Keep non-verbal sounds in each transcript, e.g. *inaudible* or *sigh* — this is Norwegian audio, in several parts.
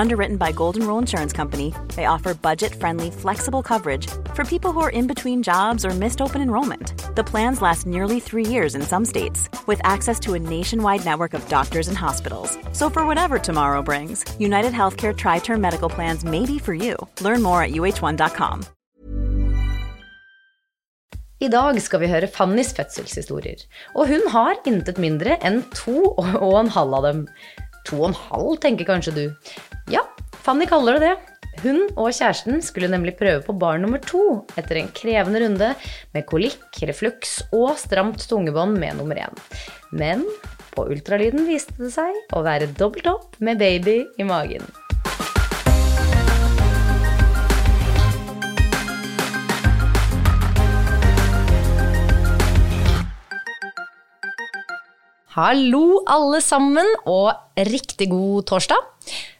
Underwritten by Golden Rule Insurance Company, they offer budget friendly, flexible coverage for people who are in between jobs or missed open enrollment. The plans last nearly three years in some states, with access to a nationwide network of doctors and hospitals. So, for whatever tomorrow brings, United Healthcare Tri Term Medical Plans may be for you. Learn more at uh1.com. I dag skal vi høre Fannys fødselshistorier, og hun har intet mindre enn to og en halv av dem. To og en halv, tenker kanskje du. Ja, Fanny kaller det det. Hun og kjæresten skulle nemlig prøve på barn nummer to etter en krevende runde med kolikk, refluks og stramt tungebånd med nummer én. Men på ultralyden viste det seg å være dobbelt opp med baby i magen. Hallo, alle sammen, og riktig god torsdag.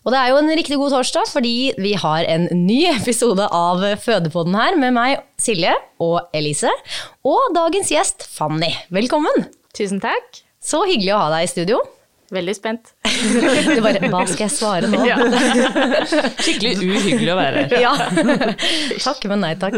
Og det er jo en riktig god torsdag fordi vi har en ny episode av Fødepodden her med meg, Silje og Elise, og dagens gjest, Fanny. Velkommen. Tusen takk. Så hyggelig å ha deg i studio. Veldig spent. Du bare Hva skal jeg svare nå? *laughs* Ja. Skikkelig uhyggelig å være her. Ja. *laughs* Takk, men nei takk.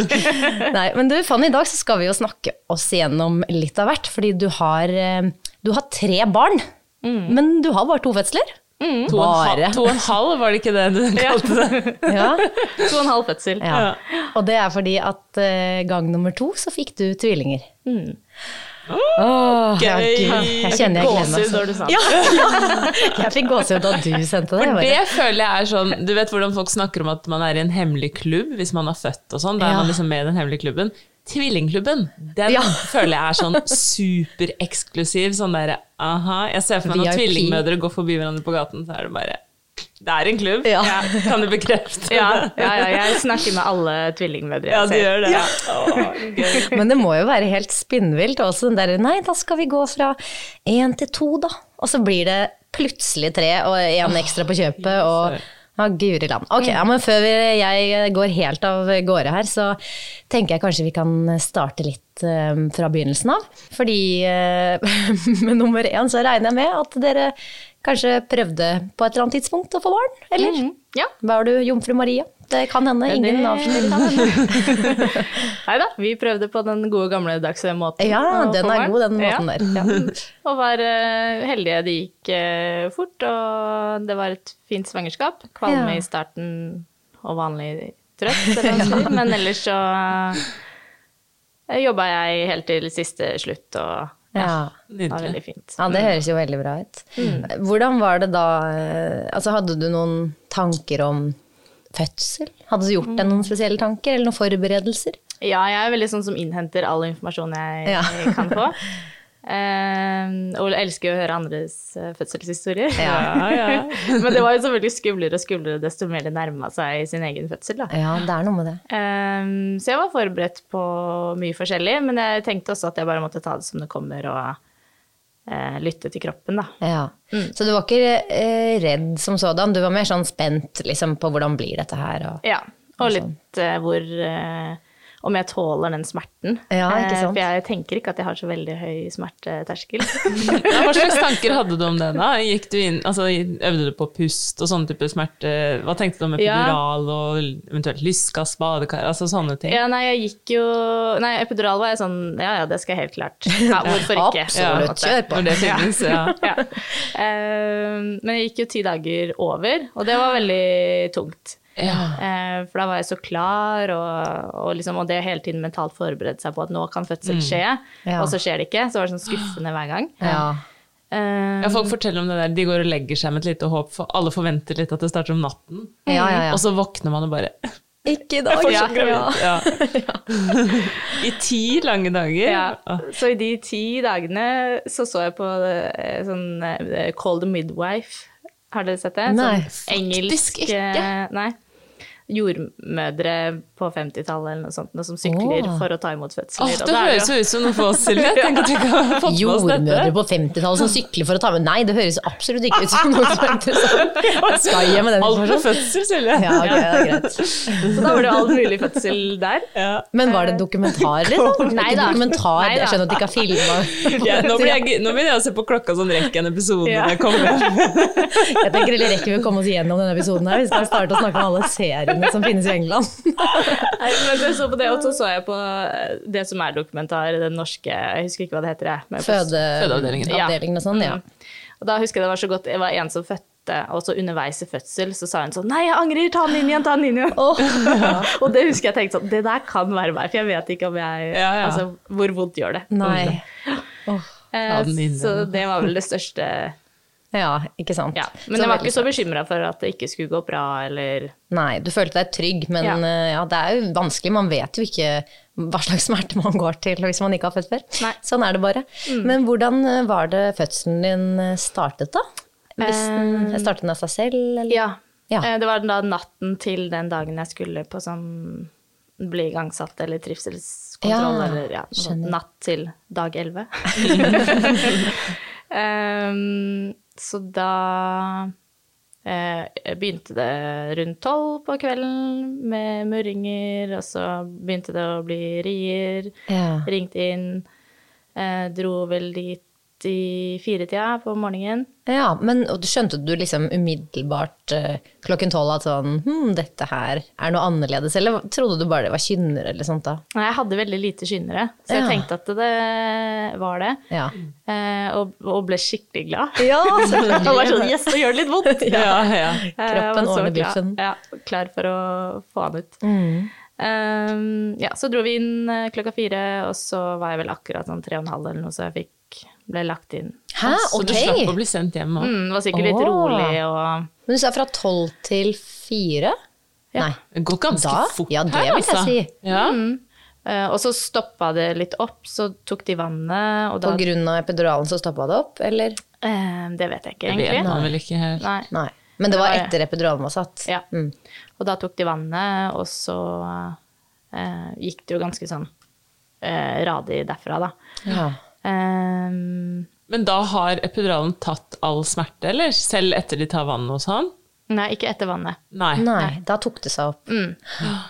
Nei, men du, Fanny, i dag så skal vi jo snakke oss igjennom litt av hvert. Fordi du har, eh, du har tre barn, men du har bare to fødsler. To og, en halv, to og en halv, var det ikke det du kalte det? *laughs* Ja. To og en halv fødsel. ja. Og det er fordi at eh, gang nummer to så fikk du tvillinger. Åh, ja, gud. Jeg kjenner jeg gleder meg Gåsehud, sånn. har du sagt. Ja. *laughs* Jeg fikk gåsehud da du sendte det. Det føler jeg er sånn Du vet hvordan folk snakker om at man er i en hemmelig klubb hvis man har født og sånn. Da er Ja. man liksom med i den hemmelige klubben. Tvillingklubben, den Ja. *laughs* føler jeg er sånn supereksklusiv. Sånn derre aha. Jeg ser for meg når VIP. tvillingmødre går forbi hverandre på gaten, så er det bare Det er en klubb. Ja. Kan du bekrefte Ja, det? ja, ja, jeg snakker med alle tvillingmødre. Ja, jeg du ser. gjør det. Ja. Åh, gøy. Men det må jo være helt spinnvilt også, den derre nei, da skal vi gå fra én til to, da. Og så blir det plutselig tre og én ekstra på kjøpet, og ja, guri land. Ok, ja, men før vi, jeg går helt av gårde her, så tenker jeg kanskje vi kan starte litt eh, fra begynnelsen av. Fordi eh, *laughs* med nummer én så regner jeg med at dere kanskje prøvde på et eller annet tidspunkt å få barn, eller? Mm. Ja. Var du jomfru Maria? Det kan hende. Ingen avslører det. Nei da, vi prøvde på den gode gamledagse måten. Ja, å den få er barn. god, den måten Ja. der. Ja. Og var eh, heldige. Det gikk eh, fort, og det var et fint svangerskap. Kvalme Ja. i starten og vanlig trøtt, *laughs* eller hva man sier. men ellers så eh, jobba jeg helt til siste slutt, og *laughs* ja, Ja. det var veldig fint. ja, det høres jo veldig bra ut. Hvordan var det da eh, Altså, hadde du noen tanker om fødsel? Hadde du gjort deg noen spesielle tanker, eller noen forberedelser? Ja, jeg er veldig sånn som innhenter all informasjon jeg Ja. *laughs* kan *laughs* få. Eh, og elsker å høre andres eh, fødselshistorier. Ja. *laughs* Men det var jo selvfølgelig skumlere og skumlere desto mer det nærma seg sin egen fødsel. Da. Ja, det er noe med det. Eh, så jeg var forberedt på mye forskjellig, men jeg tenkte også at jeg bare måtte ta det som det kommer, og eh, lytte til kroppen, da. Ja. Så du var ikke eh, redd som sådan, du var mer sånn spent liksom, på hvordan blir dette her? Og... Ja, og litt eh, hvor eh, om jeg tåler den smerten. Ja, ikke Eh, sant? For jeg tenker ikke at jeg har så veldig høy smerteterskel. *laughs* Ja, hva slags tanker hadde du om det da? Gikk du inn, altså, øvde du på pust og sånne type smerte? Hva tenkte du om epidural og eventuelt lyskas, badekar, altså sånne ting? Ja, nei, jeg gikk jo Nei, epidural var jeg sånn Ja, ja, det skal jeg helt klart. Ja, hvorfor ikke? Absolutt, At det- kjør på. Når det finnes, ja. ja. Eh, men jeg gikk jo ti dager over, og det var veldig tungt. Ja. Eh, For da var jeg så klar, og, og, liksom, og det hele tiden mentalt forberedte seg på at nå kan fødsel skje, Ja. og så skjer det ikke. Så var det sånn skuffende hver gang. Ja. Eh, Ja, folk forteller om det der, de går og legger seg med et lite håp, for alle forventer litt at det starter om natten. Ja, ja, ja. Og så våkner man og bare Ikke i dag. ja. fortsatt gravid. Ja. I ti lange dager. ja. Så i de ti dagene så så jeg på eh, sånn eh, Call the Midwife. Har dere sett det? Nei, sånn engelsk, ikke. eh, Nei. Jordmødre på 50-tallet eller noe sånt, noe som sykler Åh. for å ta imot fødsler. Åh, og det da er høres jo ut som noe for oss, Silje. Tenk at vi ikke har fått med oss Jordmødre dette. på 50-tallet som sykler for å ta med Nei, det høres absolutt ikke ut som noe som er *laughs* interessant. Skal hjem med den Alt med informasjonen. fødsel, Silje. Ja, ok, det er *laughs* greit. Så da var det jo all mulig fødsel *laughs* der. Men var det dokumentar, liksom? Nei Ikke da. Dokumentar, Nei da. Jeg skjønner at de ikke har filma. Ja, nå, blir jeg, nå begynner jeg å se på klokka sånn rekker en episode når jeg kommer hjem. Jeg tenker heller rekker vi å komme oss gjennom denne episoden her. Vi skal starte å snakke om alle seriene som finnes i England. Nei, men jeg så på det, og så så jeg på eh, det som er dokumentar, den norske Jeg husker ikke hva det heter, jeg. men- Føde, Fødeavdelingen. Ja. Mm. Avdelingen og sånn, ja. Og da husker jeg det var så godt, jeg var en som fødte, og så underveis i fødsel så sa hun sånn Nei, jeg angrer, ta den inn igjen, ta den inn igjen. *laughs* og det husker jeg tenkte sånn, det der kan være meg, for jeg vet ikke om jeg Ja, ja. Altså, hvor vondt gjør det? Nei. Eh, den inn igjen. så det var vel det største Ja, ikke sant. Ja. *laughs* Men jeg var ikke så bekymra for at det ikke skulle gå bra, eller Nei, du følte deg trygg, men Ja. eh, ja, det er jo vanskelig. Man vet jo ikke hva slags *laughs* smerte man går til hvis man ikke har født før. Nei. Mm. Sånn er det bare. Men hvordan eh, var det fødselen din eh, startet, da? Hvis den startet den av seg selv, eller? Eh, Ja. Ja. Eh, det var da natten til den dagen jeg skulle på sånn bli igangsatt eller trivselskontroll, Ja, eller ja, noe sånt. skjønner. natt til dag *laughs* 11. Ehm, så da eh, begynte det rundt tolv på kvelden med murringer, og så begynte det å bli rier. Ja. Ringte inn, eh, dro vel dit i firetida på morgenen. Ja, men og du skjønte du liksom umiddelbart eh, klokken tolv at sånn Hm, dette her er noe annerledes, eller trodde du bare det var kynnere eller sånt da? Nei, jeg hadde veldig lite skyndere, så Ja. jeg tenkte at det var det. Ja. Eh, og, og ble skikkelig glad. *laughs* Ja, Jeg var sånn *laughs* Yes, nå gjør det litt vondt! Ja, ja. Eh, Kroppen jeg var ordner så Mm. klar- biffen. Ja, klar for å få han ut. Eh, ja, så dro vi inn eh, klokka fire, og så var jeg vel akkurat sånn tre og en halv eller noe, så jeg fikk, ble lagt inn. Hæ, Så du ok. slapp å bli sendt hjem òg. Mm, var sikkert litt Åh. rolig og Men du sa fra tolv til fire? Nei. Det går ganske Da? fort Ja, det her, vil jeg altså. si. Mm. Ja. eh, Og så stoppa det litt opp, så tok de vannet, og da På grunn av epiduralen så stoppa det opp, eller? eh, Det vet jeg ikke, Det vet egentlig. man vel ikke helt. Nei. Nei. Men det Det var var- etter epiduralen var satt? Ja. Mm. Og da tok de vannet, og så eh, gikk det jo ganske sånn eh, radig derfra, da. Ja. Ehm, Men da har epiduralen tatt all smerte, eller? Selv etter de tar vann og sånn? nei, ikke etter vannet. Nei. Nei, da tok det seg opp.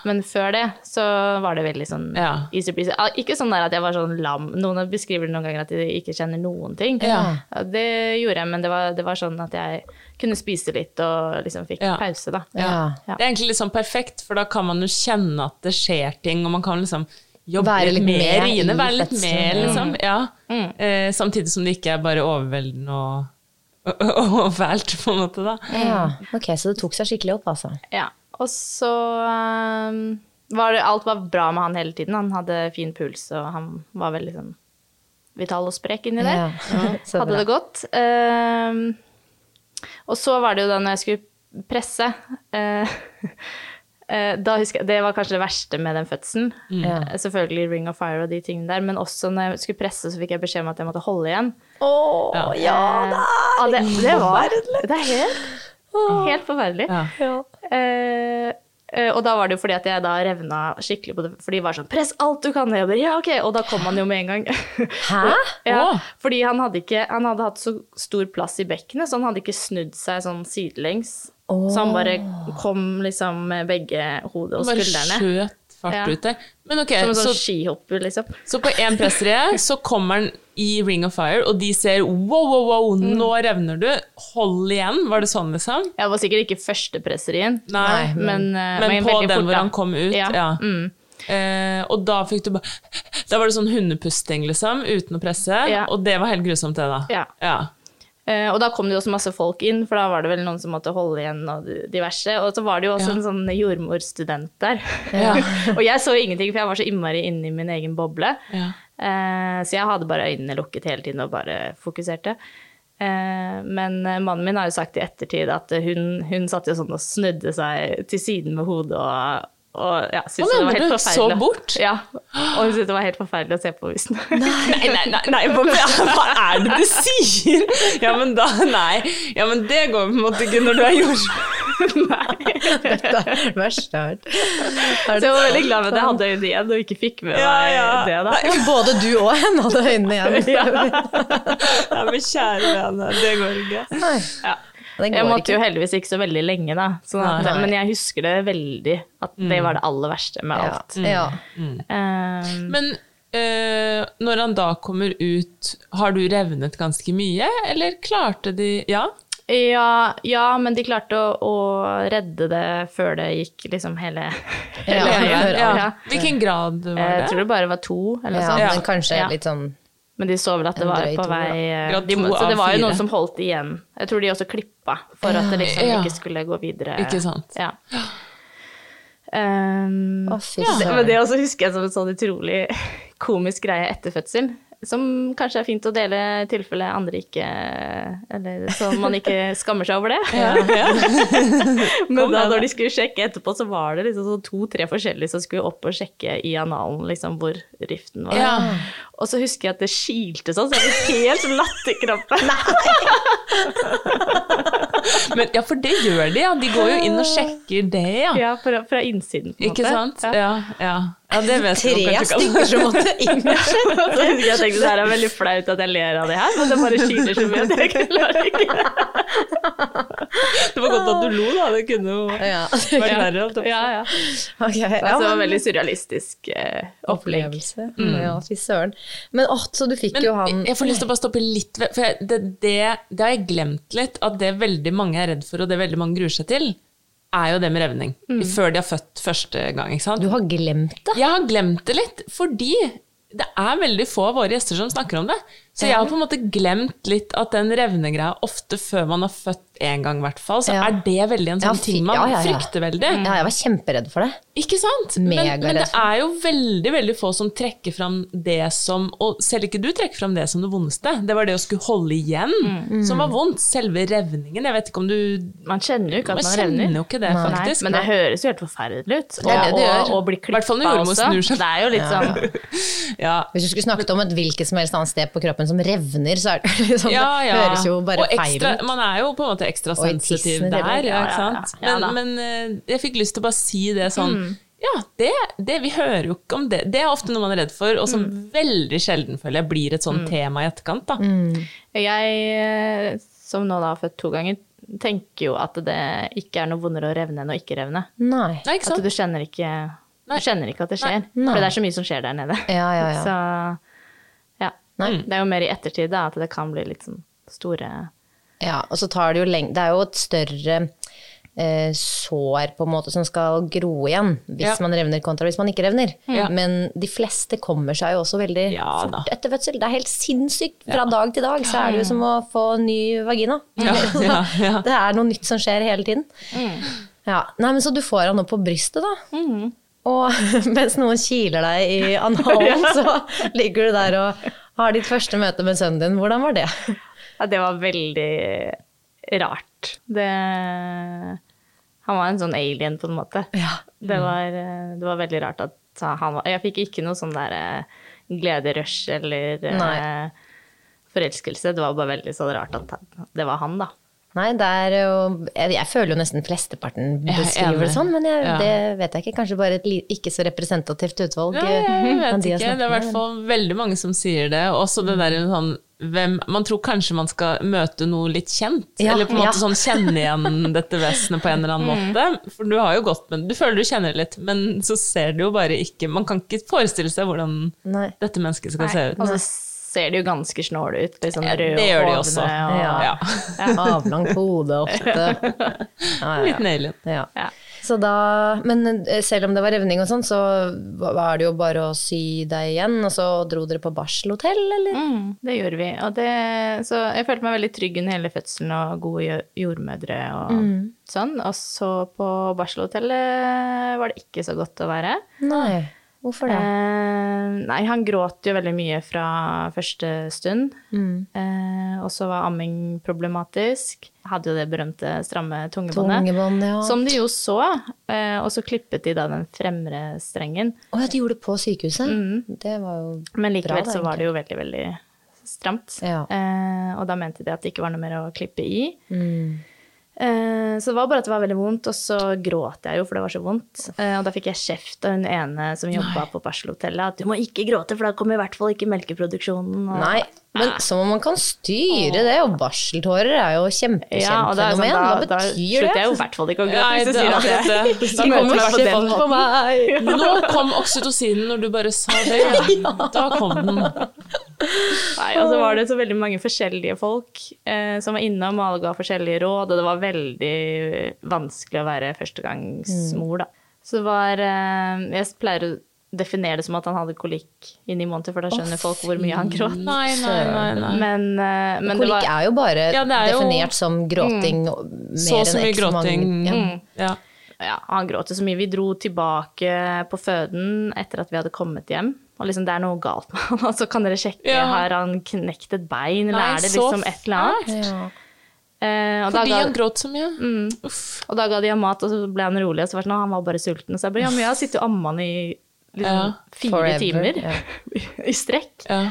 Men før det så var det veldig sånn Ja. easy-breezy. Ah, Ikke sånn der at jeg var sånn lam. Noen beskriver det noen ganger at de ikke kjenner noen ting. Ja. Ja, Det gjorde jeg, men det var, det var sånn at jeg kunne spise litt og liksom fikk Ja. pause, da. Ja. Det er egentlig litt sånn perfekt, for da kan man jo kjenne at det skjer ting, og man kan liksom jobbe Være litt litt mer med i det, i være litt fødselen. Mm. med, liksom. Ja. Mm. Eh, samtidig som det ikke er bare overveldende og, og, og, og fælt, på en måte, da. Ja. Ok, så det tok seg skikkelig opp, altså. Ja, og så ehm, var det Alt var bra med han hele tiden. Han hadde fin puls, og han var veldig sånn vital og sprek inni der. Ja. *laughs* Så hadde bra. det godt. Ehm, og så var det jo da når jeg skulle presse eh, *laughs* eh, da husker jeg, Det var kanskje det verste med den fødselen. Mm. Ja. Eh, Selvfølgelig Ring of Fire og de tingene der, men også når jeg skulle presse, så fikk jeg beskjed om at jeg måtte holde igjen. Ja. Eh, ja, det, det var Det er helt, helt forferdelig. Ja. Eh, eh, og da var det jo fordi at jeg da revna skikkelig på det, for de var sånn 'press alt du kan', og jeg bare 'ja, ok', og da kom han jo med en gang. *laughs* Hæ? ja, Åh. fordi han hadde, ikke, han hadde hatt så stor plass i bekkenet, så han hadde ikke snudd seg sånn sidelengs. Så han bare kom liksom med begge hodet og Bare skuldrene. skjøt fart Ja. ut der. Men ok, Som en så, sånn skihopper, liksom. så på én pressere så kommer den i Ring of Fire, og de ser wow, wow, wow, Mm. nå revner du. Hold igjen. Var det sånn, liksom? Jeg var sikkert ikke første presserien, Nei. men, eh, Men på veldig den fort, hvor da. han kom ut, ja. Ja. Mm. Eh, og da fikk du bare Da var det sånn hundepusting, liksom, uten å presse. Ja. Og det var helt grusomt, det, da. Ja. Eh, og da kom det jo også masse folk inn, for da var det vel noen som måtte holde igjen og diverse. Og så var det jo også Ja. en sånn jordmorstudent der. Ja. *laughs* og jeg så ingenting, for jeg var så innmari inne i min egen boble. Ja. Eh, så jeg hadde bare øynene lukket hele tiden og bare fokuserte. Eh, men eh, mannen min har jo sagt i ettertid at eh, hun, hun satt jo sånn og snudde seg til siden med hodet og og ja, syntes Hva det var mener helt du? Så forferdelig. bort? Ja, og hun syntes det var helt forferdelig å se på visst. *laughs* Nei, nei, nei, nei hva, hva er det du sier? Ja, men da Nei. Ja, men det går på en måte ikke når du er jord... Dette er det verste jeg har Så jeg var veldig glad for at jeg hadde øynene igjen og ikke fikk med meg Ja, ja. det. da. hørt. Både du og henne hadde øynene *laughs* igjen. Nei, men kjære vene, det går ikke. Nei, Ja. det Jeg går måtte jo ikke. heldigvis ikke så veldig lenge, da. Sånn at, Nei. men jeg husker det veldig, at Mm. det var det aller verste med Ja, alt. ja. Um, Men eh, når han da kommer ut, har du revnet ganske mye, eller klarte de Ja? Eh, ja, ja, men de klarte å, å redde det før det gikk liksom hele, hele Ja, greia. før alt. Ja. Hvilken grad var Jeg det? tror det bare var to, eller noe ja, sånt. men kanskje Ja. litt sånn Men de så vel at det En var drøy på to, da. vei eh, Grad de, to Så av det var jo fire. noen som holdt igjen. Jeg tror de også klippa for at det liksom Ja. ikke skulle gå videre. Ikke sant. Ja. Um, Å, fy ja. søren. Men det også husker jeg som en sånn utrolig *laughs* komisk greie etter fødsel. Som kanskje er fint å dele i tilfelle andre ikke Eller så man ikke skammer seg over det. *laughs* Men da når de skulle sjekke etterpå, så var det liksom sånn to-tre forskjellige som skulle opp og sjekke i analen liksom hvor riften var. Ja. Og så husker jeg at det kilte sånn, så jeg ble helt matt i kroppen. Men, ja, for det gjør de, ja. De går jo inn og sjekker det, ja. Ja, fra, fra innsiden, på en Ikke måte. sant? Ja. Ja, ja. ja det vet man Tre kanskje ikke. stykker som *laughs* måtte *laughs* inn. Så husker jeg jeg tenkte det her er veldig flaut at jeg ler av det her, men det bare kiler så mye at jeg *laughs* klarer ikke. Det var godt at du lo, da. Det kunne jo Ja. *laughs* vært verre. holdt jeg på å si. Ja, ja. Ok, ja, Altså, det var men- veldig surrealistisk eh, opplegg. opplevelse. Mm. Ja, fy søren. Men åh, så du fikk Mm. Men jo han jeg får lyst til å bare stoppe litt ved For jeg, det, det, det har jeg glemt litt, at det veldig mange er redd for, og det veldig mange gruer seg til, er jo det med revning. Før de har født første gang, ikke sant? Du har glemt det? Jeg har glemt det litt, fordi det er veldig få av våre gjester som snakker om det. Så jeg har på en måte glemt litt at den revnegreia ofte før man har født én gang, i hvert fall, så Ja. er det veldig en Ja, sånn fy- ting man ja, Mm. ja, ja. frykter veldig. Ja, jeg var kjemperedd for det. Ikke sant? Mega Men, men det redd for er jo veldig veldig få som trekker fram det som Og selv ikke du trekker fram det som det vondeste. Det var det å skulle holde igjen Mm. som var vondt. Selve revningen. Jeg vet ikke om du Man kjenner jo ikke at Man man, kjenner revner. jo ikke det, faktisk. Nei, men det høres jo helt forferdelig ut. er det det gjør. og, og bli I hvert klippa fall når jordmor også. snur seg. Det er jo litt sånn Ja. Hvis du skulle snakket om et hvilket som helst annet sted på kroppen som revner, så er det *laughs* liksom Ja, ja. Det høres jo bare og ekstra, feil ut. Man er jo på en måte ekstra Og i sensitiv tissen, det der, blir- ja, ja, Mm. ja, ikke ja. sant? Ja da. Men, men eh, jeg fikk lyst til å bare si det sånn Ja, det, det, vi hører jo ikke om det. Det er ofte noe man er redd for, og som Mm. veldig sjelden føler jeg blir et sånn tema i etterkant. da. Jeg, eh, som nå da har født to ganger, tenker jo at det ikke er noe vondere å revne enn å ikke revne. Nei. Nei, At ikke sant? du kjenner ikke, du kjenner ikke at det skjer. Nei. For det er så mye som skjer der nede. Ja, ja, ja. *laughs* Så ja. Nei. Det er jo mer i ettertid da, at det kan bli litt sånn store Ja, og så tar det jo lenge Det er jo et større eh, sår på en måte som skal gro igjen hvis Ja. man revner kontra hvis man ikke revner. Ja. Men de fleste kommer seg jo også veldig Ja, da. fort etter fødsel. Det er helt sinnssykt. Fra dag til dag så er det jo som å få ny vagina. *laughs* *laughs* Ja, ja, ja. Mm. Det er noe nytt som skjer hele tiden. Ja. Nei, men så du får han opp på brystet, da. Og *laughs* mens noen kiler deg i *laughs* analen, så ligger du der og har ditt første møte med sønnen din. Hvordan var det? Ja, det var veldig rart. Det Han var en sånn alien, på en måte. Ja. Det, var, eh, det var veldig rart at han var Jeg fikk ikke noe sånn der eh, glederush eller eh, Nei. forelskelse. Det var bare veldig sånn rart at han- det var han, da. Nei, det er jo Jeg, jeg føler jo nesten flesteparten er beskriver det enig. sånn, men jeg, Ja. det vet jeg ikke. Kanskje bare et li, ikke så representativt utvalg. Nei, jeg eh, av *laughs* vet de jeg ikke. Det snakker er i hvert med. fall veldig mange som sier det. Også det der sånn hvem Man tror kanskje man skal møte noe litt kjent, Ja, eller på en måte ja. sånn kjenne igjen dette vesenet på en eller annen måte. For du har jo gått med Du føler du kjenner det litt, men så ser du jo bare ikke Man kan ikke forestille seg hvordan Nei. dette mennesket skal se ut. Og så ser de jo ganske snåle ut. Litt sånn Ja, røde det gjør de og også. hovne Ja. Og, Ja. Avlangt hode *laughs* ofte. Ja, ja. Litt alien. Ja. Ja. Så da, men eh, selv om det var revning og sånn, så var det jo bare å sy deg igjen, og så dro dere på barselhotell, eller? Mm, det gjorde vi. Og det, så jeg følte meg veldig trygg under hele fødselen og gode jo- jordmødre og sånn. Og så på barselhotellet var det ikke så godt å være. Nei. Hvorfor det? Eh, nei, han gråt jo veldig mye fra første stund. Eh, og så var amming problematisk. Hadde jo det berømte stramme tungebåndet. Tungebånd, ja. Som de jo så. Eh, og så klippet de da den fremre strengen. Å ja, de gjorde det på sykehuset? Mm. Det var jo Men likevel bra, da, så var egentlig. det jo veldig, veldig stramt. Ja. Eh, og da mente de at det ikke var noe mer å klippe i. Mm. Eh, så det var bare at det var veldig vondt, og så gråt jeg jo, for det var så vondt. Eh, og da fikk jeg kjeft av hun ene som jobba på barselhotellet, at du må ikke gråte, for da kommer i hvert fall ikke melkeproduksjonen. Ah. Og, Nei, men Ah. som om man kan styre det, og barseltårer er jo kjempekjent ja, og da, er det fenomen. sånn, da, Hva da betyr slutter jeg det? jo i hvert fall ikke å gråte. Nei, hvis du det er sier at jeg- akkurat det. *laughs* Da De møter kommer meg på kjeft den på måten. Nå kom oksytocinen når du bare sa det. Da kom den. Nei, og så var det så veldig mange forskjellige folk eh, som var innom og alle ga forskjellige råd, og det var veldig vanskelig å være førstegangsmor, Mm. da. Så det var eh, Jeg pleier å definere det som at han hadde kolikk inn i måneden, for da skjønner folk hvor mye han gråt. Nei, nei, nei. nei. Men, eh, men det Kolikk var er jo bare Ja, det er jo- definert som Mm. gråting og mer Så og så enn mye X gråting. mange- Ja. Ja. ja, han gråt jo så mye. Vi dro tilbake på føden etter at vi hadde kommet hjem. Og liksom, det er noe galt med han. *laughs* Altså, kan dere sjekke? Ja. Har han knekt et bein, eller Nei, er det så liksom et eller annet? Ja. Eh, og da Fordi ga- han gråt så mye. Mm. Uff. Og da ga de ham mat, og så ble han rolig. Og så var det sånn, «Å, han var bare sulten. Og så jeg bare, ja, men jeg har sittet og ammet han i liksom, Ja, fire forever, timer ja. *laughs* i strekk. Ja.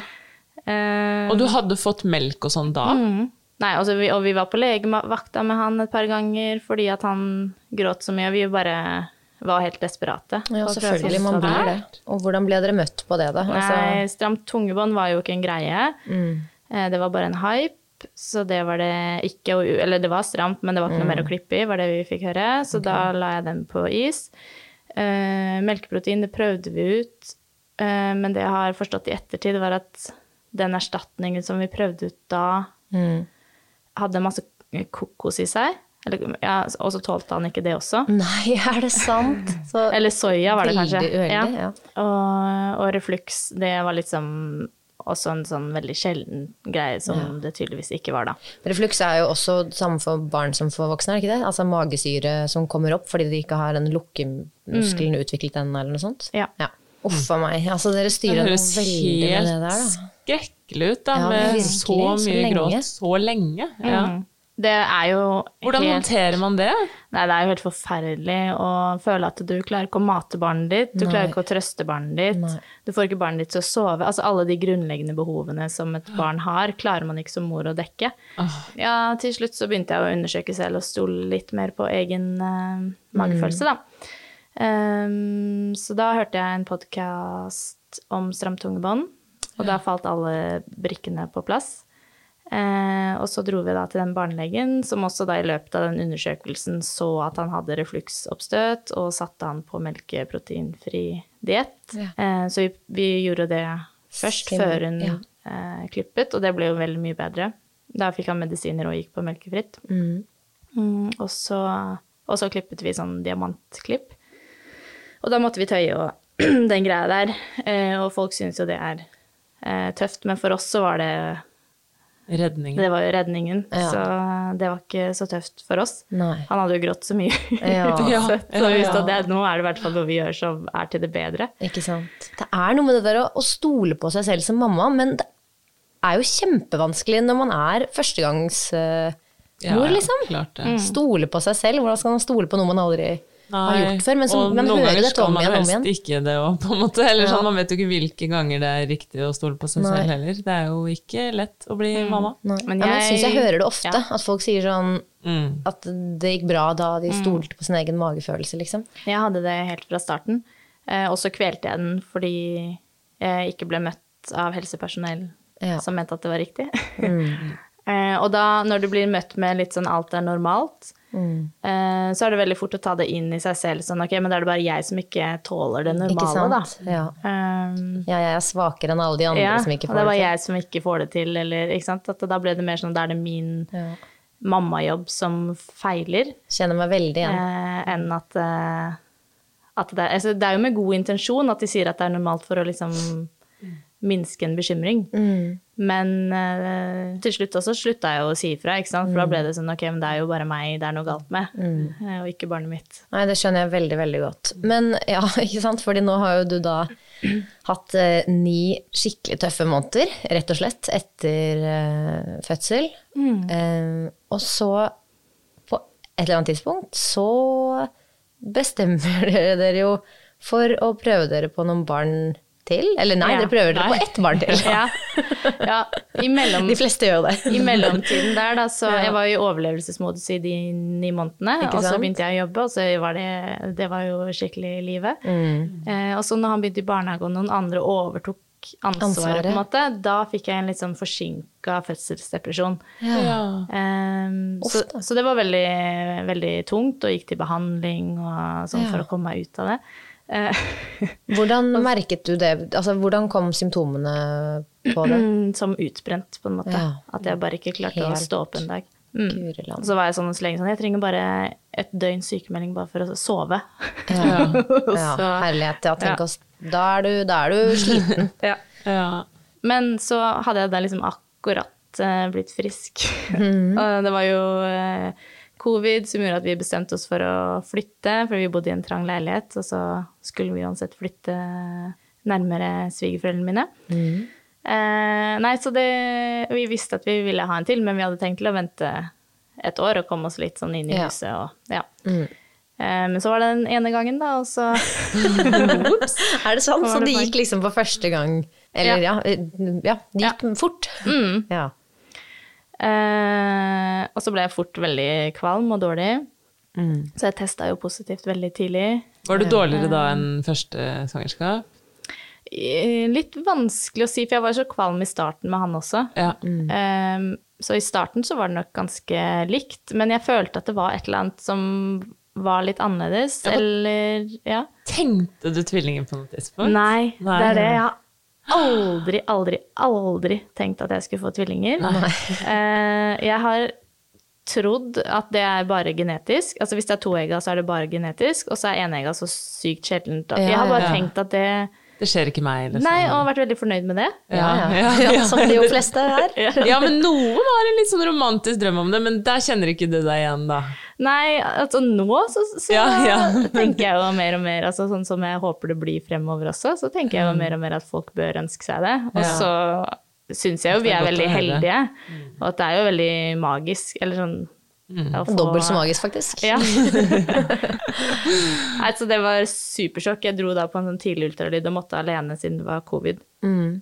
Eh, Mm. mm. Og du hadde fått melk og sånn da? nei, og, så vi, og vi var på legevakta med han et par ganger fordi at han gråt så mye. og Vi bare var helt desperate. ja, Og fra selvfølgelig. Man sånn- blir det. Og hvordan ble dere møtt på det, da? Altså- Nei, stramt tungebånd var jo ikke en greie. Mm. Eh, Det var bare en hype, så det var det ikke. å- Eller det var stramt, men det var ikke noe mer Mm. å klippe i, var det vi fikk høre. Så da la jeg den på is. Eh, melkeprotein, det prøvde vi ut, eh, men det jeg har forstått i ettertid, var at den erstatningen som vi prøvde ut da, Mm. hadde masse kokos i seg. Eller, ja, altså, og så tålte han ikke det også. Nei, *laughs* er det sant? Så, Eller soya var det kanskje. Mm. Veldig uheldig, ja. Og, og refluks, det var liksom også en sånn veldig sjelden greie som det tydeligvis ikke var da. refluks er jo også samme for barn som for voksne, er det ikke det? Altså magesyre som kommer opp fordi de ikke har den Mm. lukkemuskelen utviklet ennå, eller noe sånt. Ja. Uff a meg. Altså, dere Det styrer noe høres veldig med det helt der, da. skrekkelig ut, da, Ja, med virkelig, så så mye lenge. Mm. gråt så lenge. Ja. Det er jo Hvordan helt, håndterer man det? Nei, det er jo helt forferdelig å føle at du klarer ikke å mate barnet ditt, du klarer ikke å trøste barnet ditt, Nei. du får ikke barnet ditt til å sove. Altså alle de grunnleggende behovene som et barn har, klarer man ikke som mor å dekke. Ja, til slutt så begynte jeg å undersøke selv og stole litt mer på egen eh, magefølelse, da. Ehm, så da hørte jeg en podkast om stramt tungebånd, og da falt alle brikkene på plass. Eh, og så dro vi da til den barnelegen, som også da i løpet av den undersøkelsen så at han hadde refluksoppstøt, og satte han på melkeproteinfri diett. Eh, så vi, vi gjorde det først, Stemmer, før hun ja. eh, klippet, og det ble jo veldig mye bedre. Da fikk han medisiner og gikk på melkefritt. Mm, og, så, og så klippet vi sånn diamantklipp. Og da måtte vi tøye og *clears throat* den greia der. Eh, og folk syns jo det er eh, tøft, men for oss så var det Redning. det var jo redningen, Ja. så det var ikke så tøft for oss. Nei. Han hadde jo grått så mye. Ja. *laughs* så Ja, så vi visste ja. at det, nå er det i hvert fall noe vi gjør som er til det bedre. Ikke sant. Det er noe med det der å, å stole på seg selv som mamma, men det er jo kjempevanskelig når man er førstegangsmor, Ja, ja, liksom. klart det. Stole på seg selv. Hvordan skal man stole på noe man aldri har Nei, gjort før? Men som, og man noen hører ganger dette skal om man igjen og om helst igjen. Ikke det, også, på en måte. Eller sånn, man vet jo ikke hvilke ganger det er riktig å stole på seg Nei. Mm. selv heller. Det er jo ikke lett å bli mamma. Nei. Men Men jeg, ja, men jeg syns jeg jeg- hører det ofte, Ja. at folk sier sånn Mm. at det gikk bra da de Mm. stolte på sin egen magefølelse, liksom. Jeg hadde det helt fra starten, eh, og så kvelte jeg den fordi jeg ikke ble møtt av helsepersonell Ja. Mm. som mente at det var riktig. *laughs* Eh, og da, når du blir møtt med litt sånn alt er normalt, Mm. eh, så er det veldig fort å ta det inn i seg selv. Sånn, ok, men da er det bare jeg som ikke tåler det Ikke normale, da. sant? Ja. Um, ja, jeg er svakere enn alle de andre ja, som ikke og får det var det til. jeg som ikke får det til, eller ikke sant. At da ble det mer sånn, da er det min Ja. mammajobb som feiler, Kjenner meg veldig igjen. eh, enn at, eh, at det, er- altså, det er jo med god intensjon at de sier at det er normalt for å liksom minske en bekymring. Men eh, til slutt også slutta jeg å si ifra, ikke sant? for da ble det sånn ok, men det er jo bare meg det er noe galt med, eh, og ikke barnet mitt. Nei, det skjønner jeg veldig, veldig godt. Men ja, *laughs* ikke sant, fordi nå har jo du da hatt eh, ni skikkelig tøffe måneder, rett og slett, etter eh, fødsel. Mm. Eh, og så, på et eller annet tidspunkt, så bestemmer *laughs* dere dere jo for å prøve dere på noen barn til. Eller nei, Ja. dere prøver dere Nei. på ett barn til. *laughs* Ja, ja i mellom... *laughs* De fleste gjør jo det. I mellomtiden der, da, så Ja. jeg var i overlevelsesmodus i de ni månedene. Ikke Og så sant? begynte jeg å jobbe, og så var det, det var jo skikkelig livet. Mm. Eh, og så når han begynte i barnehage, og noen andre overtok ansvaret, Ansvaret. på en måte, da fikk jeg en litt sånn forsinka fødselsdepresjon. Ja. Ehm, Uff så, da. så det var veldig, veldig tungt, og gikk til behandling og sånn Ja. for å komme meg ut av det. Eh, *laughs* Hvordan merket du det? Altså, hvordan kom symptomene på det? Mm, som utbrent, på en måte. Ja. At jeg bare ikke klarte Helt å stå opp en dag. Guri land. Og så var jeg sånn så lenge sånn Jeg trenger bare et døgn sykemelding bare for å sove. Ja. Og Ja, så- herlighet. Ja, tenk Ja. oss. Da er du, da er du sliten. *laughs* Ja. Ja. Men så hadde jeg da liksom akkurat eh, blitt frisk. og det var jo eh, covid som gjorde at vi bestemte oss for å flytte, for vi bodde i en trang leilighet, og så skulle vi uansett flytte nærmere svigerforeldrene mine. Eh, nei, så det Vi visste at vi ville ha en til, men vi hadde tenkt til å vente et år og komme oss litt sånn inn i Ja. huset og ja. Eh, men så var det den ene gangen, da, og så Er det sant? Hva Så var det det for? gikk liksom på første gang. Eller ja, eh, ja det gikk fort. Ja. Eh, og så ble jeg fort veldig kvalm og dårlig. Mm. Så jeg testa jo positivt veldig tidlig. Var du dårligere da enn første svangerskap? Eh, Litt vanskelig å si, for jeg var så kvalm i starten med han også. Ja. Mm. Eh, så i starten så var det nok ganske likt, men jeg følte at det var et eller annet som var litt annerledes, Ja, for- eller ja. Tenkte du tvillinger på noe tidspunkt? Nei, Nei. det er det. Jeg har aldri, aldri, aldri tenkt at jeg skulle få tvillinger. *laughs* Eh, jeg har trodd at det er bare genetisk. Altså hvis det er toegga, så er det bare genetisk, og så er enegga så sykt sjeldent. Ja, jeg har bare ja, ja. tenkt at det Det skjer ikke meg, liksom. Nei, og vært veldig fornøyd med det. Ja, Ja, *laughs* ja. sånn. ja, ja som de jo *laughs* fleste er. Ja, men noen har en litt sånn romantisk drøm om det, men der kjenner ikke du deg igjen, da. Nei, altså nå så, så Ja, *laughs* ja. *laughs* tenker jeg jo mer og mer, altså sånn som jeg håper det blir fremover også, så tenker jeg jo mer og mer at folk bør ønske seg det. Og Mm. Ja. så syns jeg jo vi Det er er godt å veldig høre. Mm. heldige, og at det er jo veldig magisk, eller sånn å få- Dobbelt så magisk, faktisk. *laughs* Ja. Nei, så det var supersjokk. Jeg dro da på en sånn tidlig ultralyd og måtte alene siden det var covid.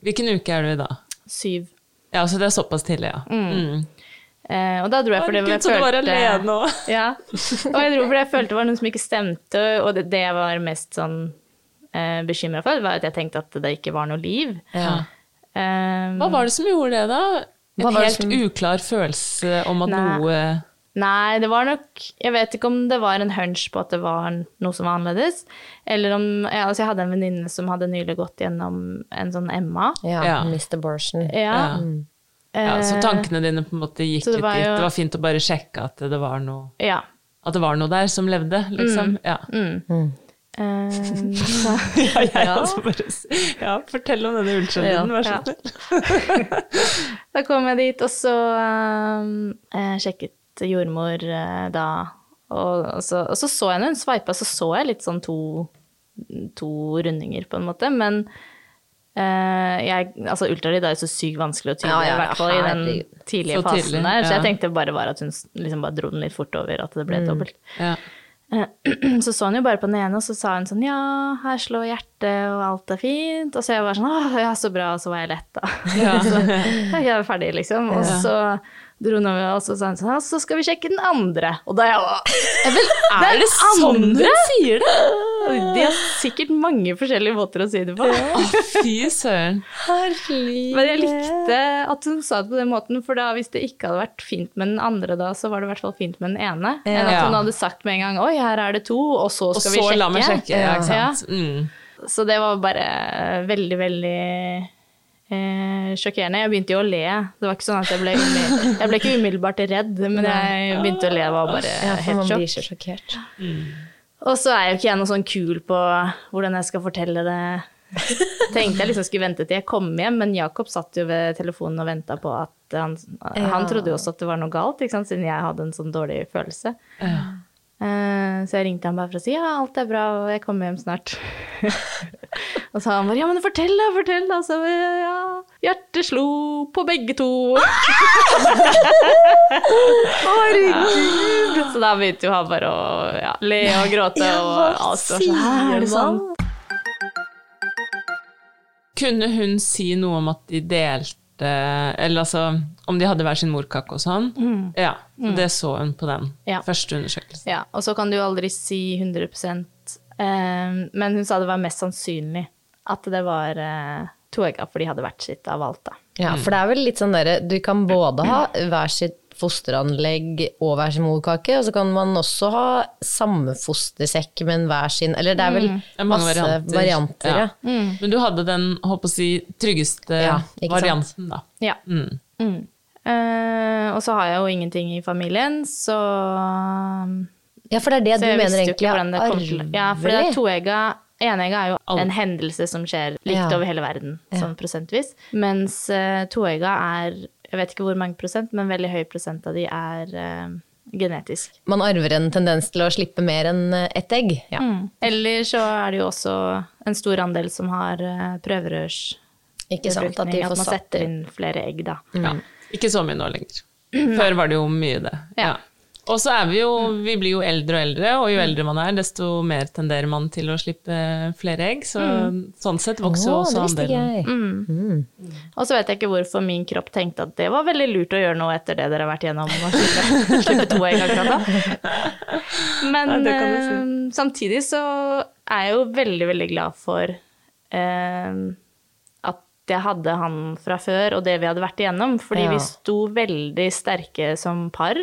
Hvilken uke er du i da? Syv. Ja, så det er såpass tidlig, ja. Mm. Eh, og da dro jeg fordi Herregud, jeg så du var følte- alene også. *laughs* Ja. Og jeg dro fordi jeg følte det var noe som ikke stemte, og det, det jeg var mest sånn eh, bekymra for, var at jeg tenkte at det ikke var noe liv. Ja. Eh, Hva var det som gjorde det, da? En Hva var det helt som- uklar følelse om at Nei. noe Nei, det var nok Jeg vet ikke om det var en hunch på at det var noe som var annerledes. Eller om ja, altså Jeg hadde en venninne som hadde nylig gått gjennom en sånn Emma. Ja, Ja. Mr. Borsen. ja. Ja. ja, Så Eh, tankene dine på en måte gikk så ut det dit. var jo- Det var fint å bare sjekke at det var noe, ja. at det var noe der som levde, liksom. Ja. Eh, *laughs* Ja, jeg altså bare s- ja, fortell om denne ultralyden, vær så snill. da kom jeg dit, og så eh, sjekket jordmor eh, da. Og, og, så, og så så jeg når hun sveipa, så så jeg litt sånn to, to rundinger, på en måte. Men eh, jeg, altså ultralyd er jo så sykt vanskelig å tyde, Ja, ja, ja, i hvert fall i den herregud. tidlige Så fasen tidlig, der. Så ja. Mm. jeg tenkte bare var at hun s- liksom bare dro den litt fort over, at det ble dobbelt. Ja. Så så hun jo bare på den ene, og så sa hun sånn ja, her slår hjertet, og alt er fint. Og så jeg var sånn åh, ja, så bra, og så var jeg *laughs* letta. så ja, jeg er ferdig, liksom. Og så dro hun over, og så sa hun sånn ja, *laughs* så skal vi sjekke den andre. Og da jeg var Er det sånn hun sier det? Og De har sikkert mange forskjellige måter å si det på. Fy søren. Men jeg likte at hun sa det på den måten, for da hvis det ikke hadde vært fint med den andre da, så var det i hvert fall fint med den ene. Enn at Ja. hun hadde sagt med en gang 'oi, her er det to', og så Og skal så vi sjekke. la meg sjekke. Ja, ikke sant? Ja. Mm. Så det var bare veldig, veldig eh, sjokkerende. Jeg begynte jo å le. Det var ikke sånn at jeg ble, umiddel- jeg ble ikke umiddelbart redd, men jeg begynte å le. Det var bare Ja, for helt man sjokk. blir så sjokkert. Og så er jo ikke jeg noe sånn kul på hvordan jeg skal fortelle det. Tenkte jeg liksom skulle vente til jeg kom hjem, men Jakob satt jo ved telefonen og venta på at han, han trodde jo også at det var noe galt, ikke sant? siden jeg hadde en sånn dårlig følelse. Eh, Så jeg ringte han bare for å si ja, alt er bra, og jeg kommer hjem snart. og så han bare ja, men fortell da, fortell da. Så jeg, ja, hjertet slo på begge to. Herregud! Så da begynte jo han bare å ja, le og gråte og alt. var sånn, «Hæ, er det sant? Kunne hun si noe om at de delte Eller altså om de hadde hver sin morkake og sånn? Ja. Og det så hun på den Ja. første undersøkelsen. Ja, og så kan du jo aldri si 100 eh, Men hun sa det var mest sannsynlig at det var eh, to egg, for de hadde hvert sitt av alt, da. Ja, for det er vel litt sånn derre Du kan både ha hver sitt fosteranlegg og hver sin morkake, og så kan man også ha samme fostersekk, men hver sin Eller det er vel Det er mange masse varianter. varianter. ja. Ja. Mm. Men du hadde den håper å si, tryggeste Ja, ikke sant? varianten, da. Ja. Mm. Mm. Eh, og så har jeg jo ingenting i familien, så ja, for det er det Så du jeg mener visste jo egentlig ikke er hvordan det kom til. arvelig. Ja, for det er toegga. Enegga er jo Alle. en hendelse som skjer likt Ja. over hele verden, sånn prosentvis. Mens eh, toegga er, jeg vet ikke hvor mange prosent, men veldig høy prosent av de er eh, genetisk. Man arver en tendens til å slippe mer enn eh, ett egg. Ja. Eller så er det jo også en stor andel som har eh, prøverørsbefruktning. Ikke sant? At de At får man satt setter inn flere egg, da. Ja. Ikke så mye nå lenger. Før var det jo mye det. Ja. Ja. Og så er vi jo, vi blir jo eldre og eldre, og jo eldre man er, desto mer tenderer man til å slippe flere egg. Så sånn sett vokser jo Å, det også visste ikke andelen. jeg. Mm. Og så vet jeg ikke hvorfor min kropp tenkte at det var veldig lurt å gjøre noe etter det dere har vært gjennom. Og slippe, *laughs* slippe to egg akkurat da. Men Nei, det kan du si. eh, samtidig så er jeg jo veldig, veldig glad for eh, at jeg hadde han fra før, og det vi hadde vært igjennom. Fordi Ja. vi sto veldig sterke som par.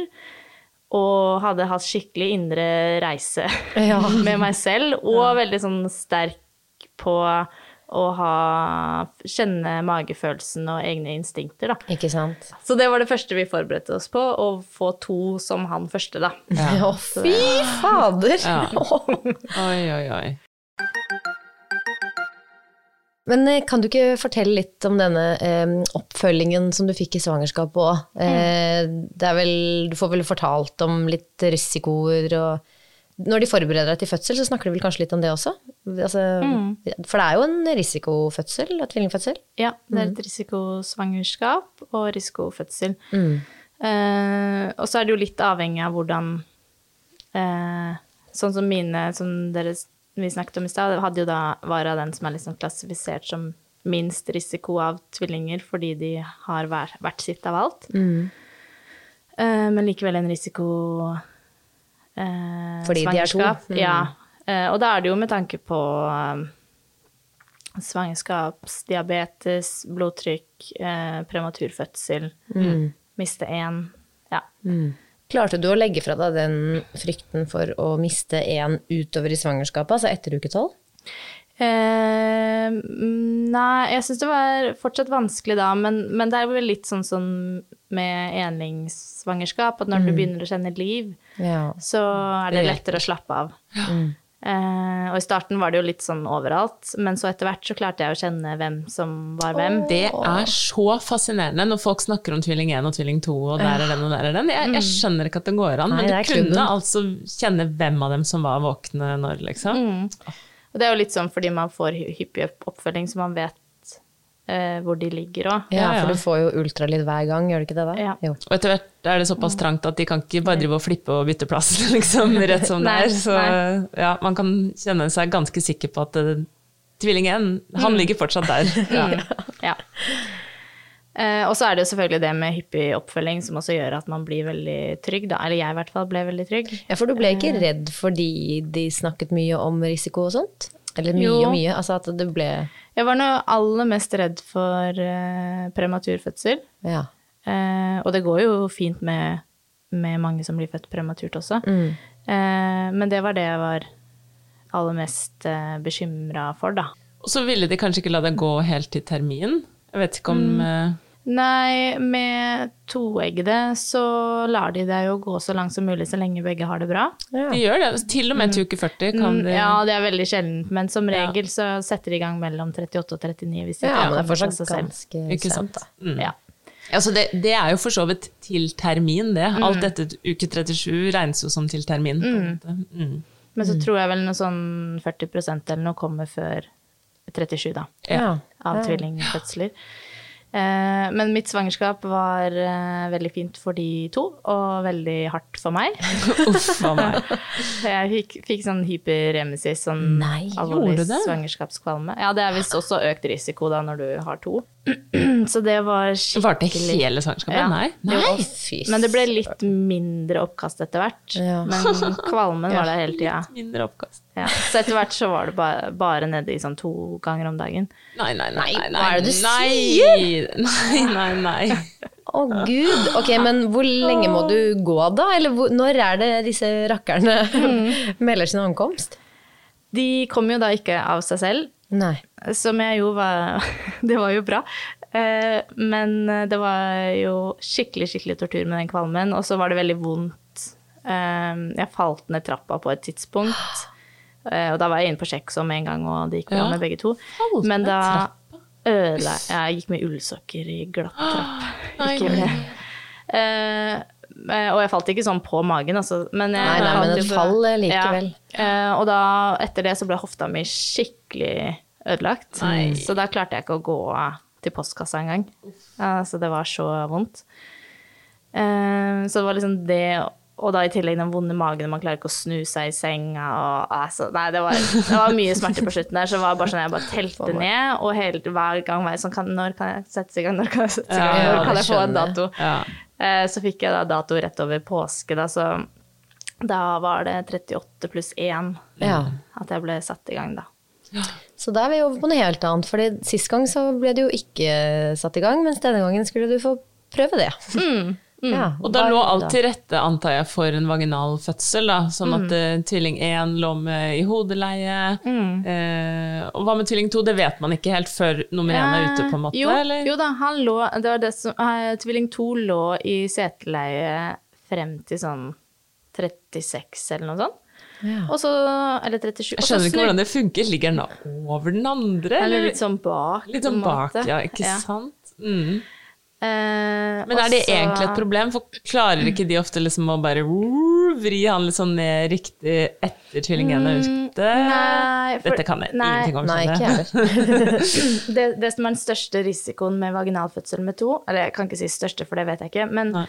Og hadde hatt skikkelig indre reise *laughs* Ja. med meg selv, og veldig sånn sterk på å ha, kjenne magefølelsen og egne instinkter, da. Ikke sant? Så det var det første vi forberedte oss på, å få to som han første, da. *laughs* Å, fy fader! *laughs* Oi, oi, oi. Men eh, kan du ikke fortelle litt om denne eh, oppfølgingen som du fikk i svangerskapet òg? Eh, det er vel, du får vel fortalt om litt risikoer og Når de forbereder deg til fødsel, så snakker de vel kanskje litt om det også? Altså, For det er jo en risikofødsel, og tvillingfødsel. Ja, det er et risikosvangerskap og risikofødsel. Eh, og så er det jo litt avhengig av hvordan eh, Sånn som mine, som dere, vi snakket om i stad, hadde jo da var av den som er liksom klassifisert som minst risiko av tvillinger fordi de har hver, hvert sitt av alt. Mm. Eh, men likevel en risiko eh, Fordi de er to. svangerskap. Mm. Ja. Eh, og da er det jo med tanke på eh, svangerskapsdiabetes, blodtrykk, eh, prematur fødsel, Mm. miste én. Ja. Klarte du å legge fra deg den frykten for å miste en utover i svangerskapet, altså etter uke tolv? Eh, mm, nei, jeg syns det var fortsatt vanskelig da, men, men det er vel litt sånn som med enlingssvangerskap, at når du begynner å kjenne liv, Ja. så er Mm. det lettere å slappe av. Eh, og i starten var det jo litt sånn overalt, men så etter hvert så klarte jeg å kjenne hvem som var hvem. Det er så fascinerende når folk snakker om tvilling 1 og tvilling 2, og der er den og der er den. Jeg, jeg skjønner ikke at det går an, Nei, men det er du kunne klubben. altså kjenne hvem av dem som var våkne når, liksom. Og det er jo litt sånn fordi man får hy- hyppig opp- oppfølging, så man vet eh, hvor de ligger òg. ja, ja. for du får jo ultralyd hver gang, gjør du ikke det da? Ja. Jo. Og etter hvert er det såpass trangt at de kan ikke bare drive og flippe og bytte plass, *laughs* liksom, rett som det Nei, er. Så ja, man kan kjenne seg ganske sikker *laughs* på at eh, tvilling 1, han ligger fortsatt der. Ja. Ja. Eh, og så er det jo selvfølgelig det med hyppig oppfølging som også gjør at man blir veldig trygg, da. Eller jeg i hvert fall ble veldig trygg. Ja, for du ble ikke Eh. redd fordi de snakket mye om risiko og sånt? Eller mye Jo. og mye? Altså at det ble Jeg var nå aller mest redd for eh, prematur fødsel. Ja. Eh, og det går jo fint med, med mange som blir født prematurt også. Eh, men det var det jeg var aller mest eh, bekymra for, da. Og så ville de kanskje ikke la deg gå helt til termin. Jeg vet ikke om eh, Nei, med toeggede så lar de deg jo gå så langt som mulig så lenge begge har det bra. De gjør det. Til og med til uke 40 kan de Mm, Ja, det er veldig sjeldent, men som regel så setter de i gang mellom 38 og 39 hvis de ja, men det kommer er av fortsatt seg selv. ganske Ikke sent, sant? da. Mm. Ja. Altså det, det er jo for så vidt til termin, det. Alt etter uke 37 regnes jo som til termin. På en måte. *laughs* Mm. Men så tror jeg vel noe sånn 40 eller noe kommer før 37, da. Ja. av tvillingfødsler. Eh, Men mitt svangerskap var eh, veldig fint for de to, og veldig hardt for *laughs* meg. Uff a meg. Jeg fikk, fikk sånn hyperemesis, sånn Nei, alvorlig gjorde du det? svangerskapskvalme. Ja, det er visst også økt risiko da når du har to. *clears throat* Så det var skikkelig Varte hele svangerskapet? Ja. Nei. Nei, fy Men det ble litt mindre oppkast etter hvert. Ja. Men kvalmen var der hele tida. Mindre oppkast. Ja. Så etter hvert så var det bare, bare nede i sånn to ganger om dagen. Nei, nei, nei. nei, hva er det du nei. sier? Nei, nei, nei. Å gud. Ok, men hvor lenge må du gå da? Eller hvor, når er det disse rakkerne Mm. *laughs* melder sin ankomst? De kom jo da ikke av seg selv, Nei. Som jeg jo var *laughs* Det var jo bra. Eh, Men det var jo skikkelig, skikkelig tortur med den kvalmen. Og så var det veldig vondt. Eh, Jeg falt ned trappa på et tidspunkt. Eh, Og da var jeg inne på Sjekksom med en gang, og det gikk bra Ja. med begge to. Falt Men ned da ødela jeg gikk med ullsokker i glatt trapp. Ikke gjør det. Eh, eh, og jeg falt ikke sånn på magen, altså. Men jeg Nei, nei, men falt jo et på- fall likevel. Ja. Eh, og da, etter det så ble hofta mi skikkelig ødelagt. Så da klarte jeg ikke å gå til postkassa engang. Uh, så det var så vondt. Eh, så det var liksom det og da i tillegg den vonde magen, og man klarer ikke å snu seg i senga. Og, altså, nei, det var, det var mye smerte på slutten der, så det var bare sånn jeg bare telte ned. Og hele, hver gang var jeg sånn kan, Når kan jeg settes i gang? Når kan jeg settes i gang? Ja, Når kan det jeg få en skjønner jeg. dato? Ja. Eh, Så fikk jeg da dato rett over påske, da, så da var det 38 pluss 1 Ja. Mm. at jeg ble satt i gang, da. Så da er vi over på noe helt annet. Fordi sist gang så ble det jo ikke satt i gang, mens denne gangen skulle du få prøve det. Ja, Mm. Og da hva- lå alt til rette, antar jeg, for en vaginal fødsel, da. Sånn at eh, tvilling 1 lå med i hodeleie. Eh, og hva med tvilling 2? Det vet man ikke helt før nummer 1 er ute, på en måte? Eh, jo, eller? jo da, han lå det var det som, eh, Tvilling 2 lå i seteleie frem til sånn 36 eller noe sånt. Og så, eller 37. Jeg skjønner ikke hvordan det funker. Ligger den da over den andre? Eller litt sånn bak. Litt sånn på en bak, måte. ja. Ikke Ja. sant? Mm. Eh, Men er det og så- egentlig et problem? For klarer ikke de ofte liksom å bare woo, vri han litt sånn ned riktig etter tvillingen er ute? Nei, for- Dette kan jeg nei, ingenting om, Nei, ikke skjønner jeg jeg. heller. det, det som er den største risikoen med vaginal fødsel med to, eller jeg kan ikke si største, for det vet jeg ikke, men, Nei.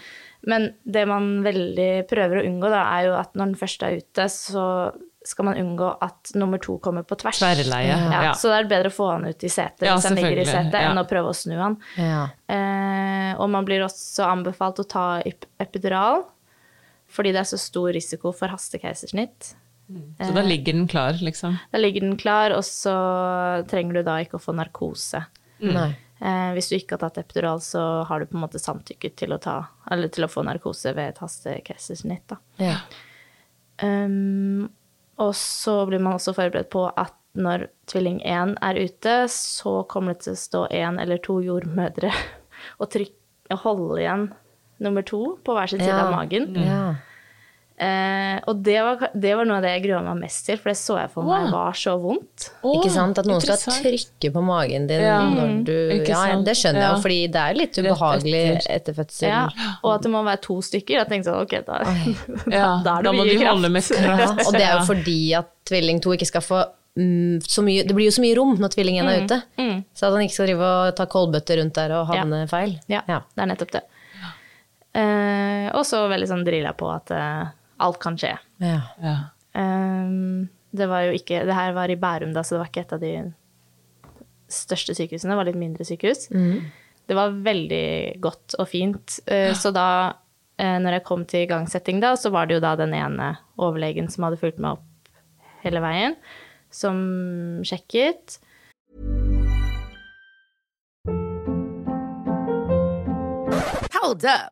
men det man veldig prøver å unngå, da, er jo at når den første er ute, så skal man unngå at nummer to kommer på tvers. Tverrleie, Ja, ja. Så det er bedre å få han ut i setet Ja, hvis han ligger i selvfølgelig, setet, ja. enn å prøve å snu han. Ja. Eh, og man blir også anbefalt å ta ep- epidural, fordi det er så stor risiko for hastekeisersnitt. Så da ligger den klar, liksom. Da ligger den klar, og så trenger du da ikke å få narkose. Nei. Eh, hvis du ikke har tatt epidural, så har du på en måte samtykket til å, ta, eller til å få narkose ved et hastekeisersnitt. da. Ja. Um, og så blir man også forberedt på at når tvilling 1 er ute, så kommer det til å stå én eller to jordmødre *laughs* og, tryk- og holde igjen nummer to på hver sin side Ja. Mm. av magen. ja. Mm. Eh, og det var, det var noe av det jeg grua meg mest til, for det så jeg for meg var så vondt. Å, Ikke sant? At noen skal interessant. trykke på magen din Ja. når du Mm. Ikke Ja, sant? det skjønner jeg Ja. jo, fordi det er litt ubehagelig etter fødsel. Ja, og at det må være to stykker. Jeg tenkte sånn, ok, *laughs* da, Ja, da er det da må mye de kraft. holde med kraft. *laughs* Ja, og det er jo fordi at tvilling 2 ikke skal få mm, så mye Det blir jo så mye rom når tvilling 1 Mm. er ute. Så at han ikke skal drive og ta koldbøtter rundt der og havne feil. Ja, Ja. det er nettopp det. Eh, og så veldig sånn drilla på at eh, alt kan skje. *laughs* Ja. Ja. Ehm, det var jo ikke Det her var i Bærum, da, så det var ikke et av de største sykehusene. Det var litt mindre sykehus. Det var veldig godt og fint. Eh, Så da, eh, når jeg kom til igangsetting da, så var det jo da den ene overlegen som hadde fulgt meg opp hele veien, som sjekket. Hold up.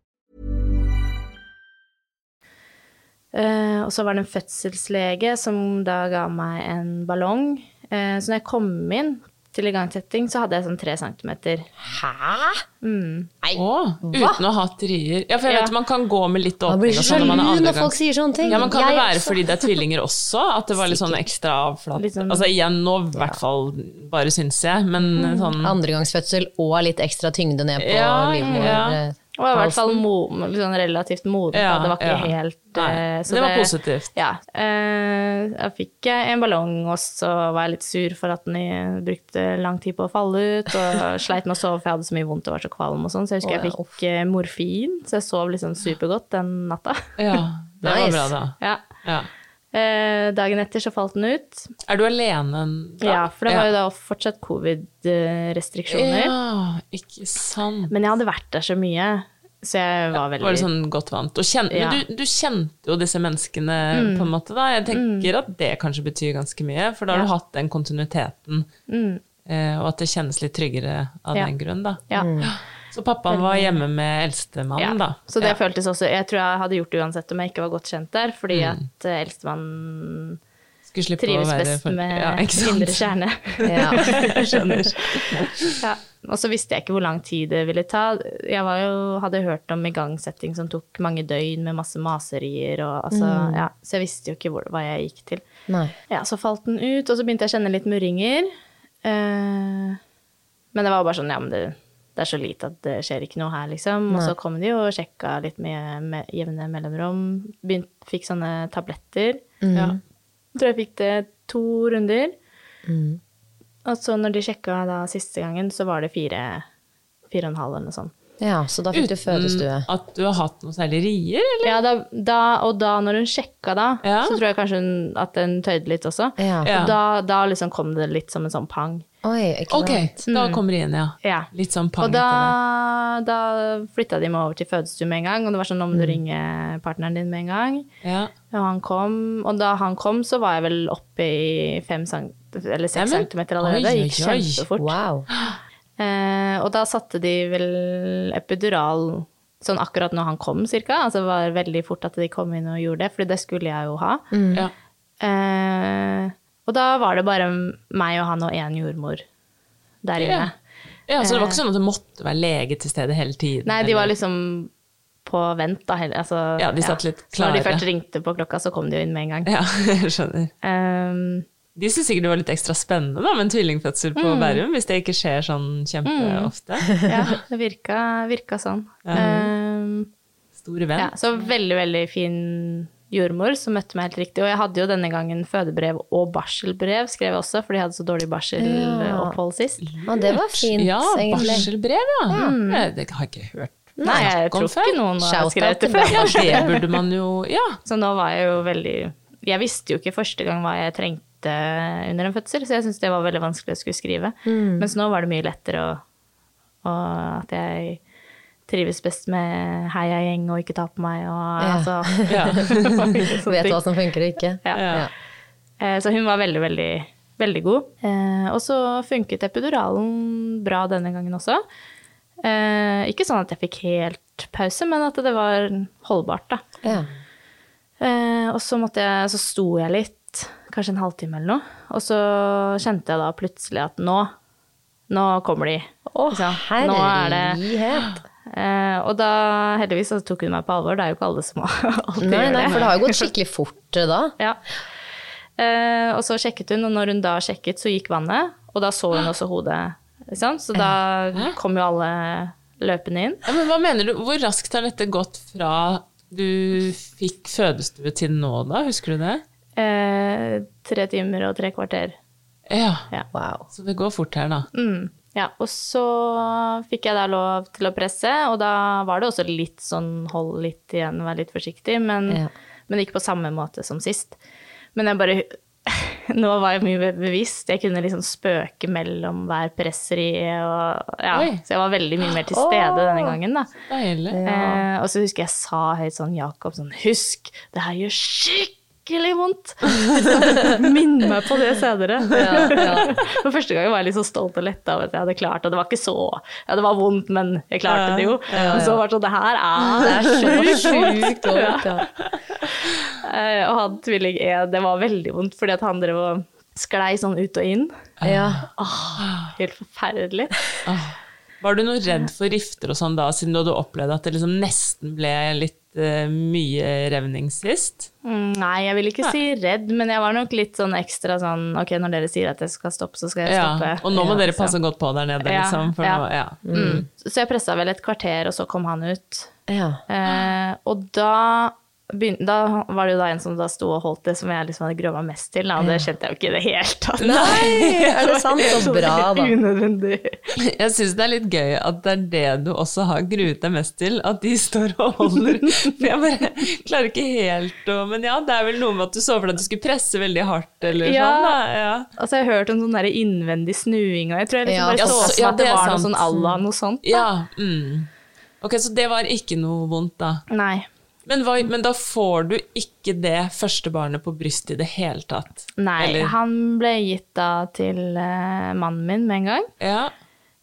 Eh, og så var det en fødselslege som da ga meg en ballong. Eh, så når jeg kom inn til igangsetting, så hadde jeg sånn tre centimeter. Hæ? Å, uten å ha trier. Ja, for jeg Ja. vet man kan gå med litt Man blir åpning og så sånn når man er sjalu andre når gang. folk sier sånne ting. Ja, men kan Jeg det være også. fordi det er tvillinger også? At det var litt sånn ekstra avflat? Litt sånn- Altså igjen nå, i hvert fall bare syns jeg, men Mm. sånn Andregangsfødsel og litt ekstra tyngde ned på Ja, livmor. ja. eh, Og jeg var i hvert fall halsen. mo litt sånn relativt moden. Ja, da. det var ikke ja. helt Nei, eh, så det var positivt. Ja. Eh, da fikk jeg en ballong, og så var jeg litt sur for at den i- brukte lang tid på å falle ut. *laughs* Og sleit med å sove, for jeg hadde så mye vondt og var så kvalm. og sånn, Så jeg husker Å, ja, jeg fikk eh, morfin, så jeg sov liksom supergodt den natta. *laughs* Ja, det var Nice. bra, da. ja. Ja. Eh, dagen etter så falt den ut. Er du alene? da? Ja, for det var jo da fortsatt covid-restriksjoner. Ja, ikke sant. Men jeg hadde vært der så mye, så jeg var veldig Var det sånn godt vant? Og kjen- Ja. Mm. Men du, du kjente jo disse menneskene på en måte, da. Jeg tenker at det kanskje betyr ganske mye, for da har du hatt den kontinuiteten, eh, og at det kjennes litt tryggere av Mm. Ja. den grunn, da. Ja. Så pappaen var hjemme med eldstemannen, Ja, mm, da. Så det Ja. føltes også Jeg tror jeg hadde gjort det uansett om jeg ikke var godt kjent der, fordi Mm. at eh, eldstemann Skulle slippe å trives være best for- med Ja, ikke sant? indre *laughs* kjerne. *laughs* Ja. Ja. Og så visste jeg ikke hvor lang tid det ville ta. Jeg var jo, hadde hørt om igangsetting som tok mange døgn med masse maserier, og, altså, Mm. ja, så jeg visste jo ikke hvor, hva jeg gikk til. Nei. Ja, så falt den ut, og så begynte jeg å kjenne litt murringer. Eh, men det var bare sånn, ja, men det, det er så lite at det skjer ikke noe her, liksom. Og så kom de jo og sjekka litt med, med jevne mellomrom. Begynt, fikk sånne tabletter. Mm. Ja. Jeg tror jeg fikk det to runder. Og så når de sjekka da siste gangen, så var det fire, fire og en halv eller noe sånt. ja, så da fikk du fødestue. Mm, At du har hatt noe særlig rier, eller? Ja, da, da, og da når hun sjekka da, Ja. så tror jeg kanskje hun, at den tøyde litt også. Ja. Ja. Og da, da liksom kom det litt som en sånn pang. Oi, ikke Ok, sant. da kommer riene, ja. Mm. Ja. Litt sånn Og pang etter da, da flytta de meg over til fødestue med en gang, og det var sånn om du ringer partneren din med en gang. det. Ja. Og, han kom, og da han kom, så var jeg vel oppe i fem cent eller seks Neimen, centimeter oi, allerede. Det gikk oi, oi. kjempefort. Wow. Eh, og da satte de vel epidural sånn akkurat når han kom, cirka. Altså det var veldig fort at de kom inn og gjorde det, for det skulle jeg jo ha. ja. Eh, og da var det bare meg og han og én jordmor der inne. Eh. Ja. ja, så det var ikke sånn at det måtte være lege til stede hele tiden? Nei, de var eller- liksom på vent, da. heller. Altså, Ja, de satt litt Så når de klare. først ringte på klokka, så kom de jo inn med en gang. Ja, *laughs* jeg skjønner. Ehm, De syns sikkert det var litt ekstra spennende da, med en tvillingfødsel på Bærum, hvis det ikke skjer sånn kjempeofte. Mm. ja, det virka, virka sånn. Ehm, Stor venn. ja, så veldig, veldig fin jordmor som møtte meg helt riktig. Og jeg hadde jo denne gangen fødebrev og barselbrev, skrev jeg også, for de hadde så dårlig barselopphold sist. Ja, det var fint, Ja, egentlig. barselbrev, ja. Mm. ja. Det har jeg ikke hørt. Nei, jeg Snakk om tror før. ikke noen har Shout out skrevet det til før. Ja, det burde man jo Ja. *laughs* Så nå var jeg jo veldig Jeg visste jo ikke første gang hva jeg trengte under en fødsel, så jeg syntes det var veldig vanskelig å skulle skrive. Mm. Mens nå var det mye lettere, og, og at jeg trives best med heia-gjeng og ikke ta på meg og *laughs* Ja. altså *laughs* ja. Vet hva som funker og ikke. Ja. Eh, Så hun var veldig, veldig, veldig god. Eh, Og så funket epiduralen bra denne gangen også. Eh, Ikke sånn at jeg fikk helt pause, men at det var holdbart, da. Ja. Eh, og så, måtte jeg, så sto jeg litt, kanskje en halvtime eller noe. Og så kjente jeg da plutselig at nå, nå kommer de. Å, Ikke sant? nå er det herlighet. eh, Og da, heldigvis, så tok hun meg på alvor. Det er jo ikke alle som *laughs* alltid Nei, gjør nei, det. for det har jo gått skikkelig fort eh, da. Ja. Eh, og så sjekket hun, og når hun da sjekket, så gikk vannet. Og da så hun også hodet. Ikke sant? Så da kom jo alle løpende inn. Ja, men hva mener du, Hvor raskt har dette gått fra du fikk fødestue til nå, da? Husker du det? Eh, tre timer og tre kvarter. Ja. Ja. Wow. Så det går fort her, da. Mm. Ja, og så fikk jeg da lov til å presse, og da var det også litt sånn hold litt igjen, vær litt forsiktig, men, Ja. men ikke på samme måte som sist. Men jeg bare *laughs* Nå var jeg mye mer bevisst. Jeg kunne liksom spøke mellom hver presseri og Ja, Oi. så jeg var veldig mye mer til stede denne gangen, da. Deilig. Eh, og så husker jeg sa høyt sånn Jakob sånn Husk, det her gjør skikkelig vondt! *laughs* Minn meg på det senere. For første gang var jeg litt så stolt og letta over at jeg hadde klart det. Det var ikke så Ja, det var vondt, men jeg klarte det jo. Og så var det sånn Det her er Det er så sjukt godt, ja. *laughs* Eh, Og han tvilling E, det var veldig vondt, fordi at han drev og sklei sånn ut og inn. Ah, ja. Helt forferdelig. Var du noe redd for rifter og sånn da, siden du hadde opplevd at det liksom nesten ble litt eh, mye revning sist? Mm, Nei, jeg vil ikke si redd, men jeg var nok litt sånn ekstra sånn Ok, når dere sier at jeg skal stoppe, så skal jeg stoppe. Ja. Og nå må Ja, dere passe så. godt på der nede, Ja, liksom. For ja. Nå, ja. *laughs* Mm. Så jeg pressa vel et kvarter, og så kom han ut. ja. Ah. Eh, og da, begyn- da var det jo da en som da sto og holdt det som jeg liksom hadde grua meg mest til, da, og det kjente jeg jo ikke i det hele tatt. *laughs* Nei, er det sant? Så bra, *laughs* da. Unødvendig. Jeg syns det er litt gøy at det er det du også har gruet deg mest til, at de *laughs* står og holder. For jeg bare klarer ikke helt å Men ja, det er vel noe med at du så for deg at du skulle presse veldig hardt, eller Ja. sånn, da. Ja. Altså, jeg har hørt om sånn der innvendig snuing, og jeg tror jeg liksom Ja, bare så altså, for meg ja, at det det er var noe sant. sånn Allah, noe sånt. ja mm. Ok, så det var ikke noe vondt, da. Nei. Men, hva, men da får du ikke det første barnet på brystet i det hele tatt? Nei. Eller- Han ble gitt da til eh, mannen min med en gang. Ja.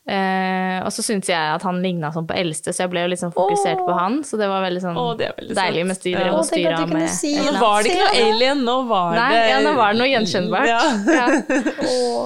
Eh, og så syntes jeg at han ligna sånn på eldste, så jeg ble jo litt sånn fokusert på han. Så det var veldig sånn Åh, det er veldig deilig søtt. mens de Ja. drev og Åh, tenk at styra du kunne med si et eller Nå annet. var det ikke noe alien, nå var Nei, det ja, nå var det noe gjenkjennbart. Ja. *laughs* Ja.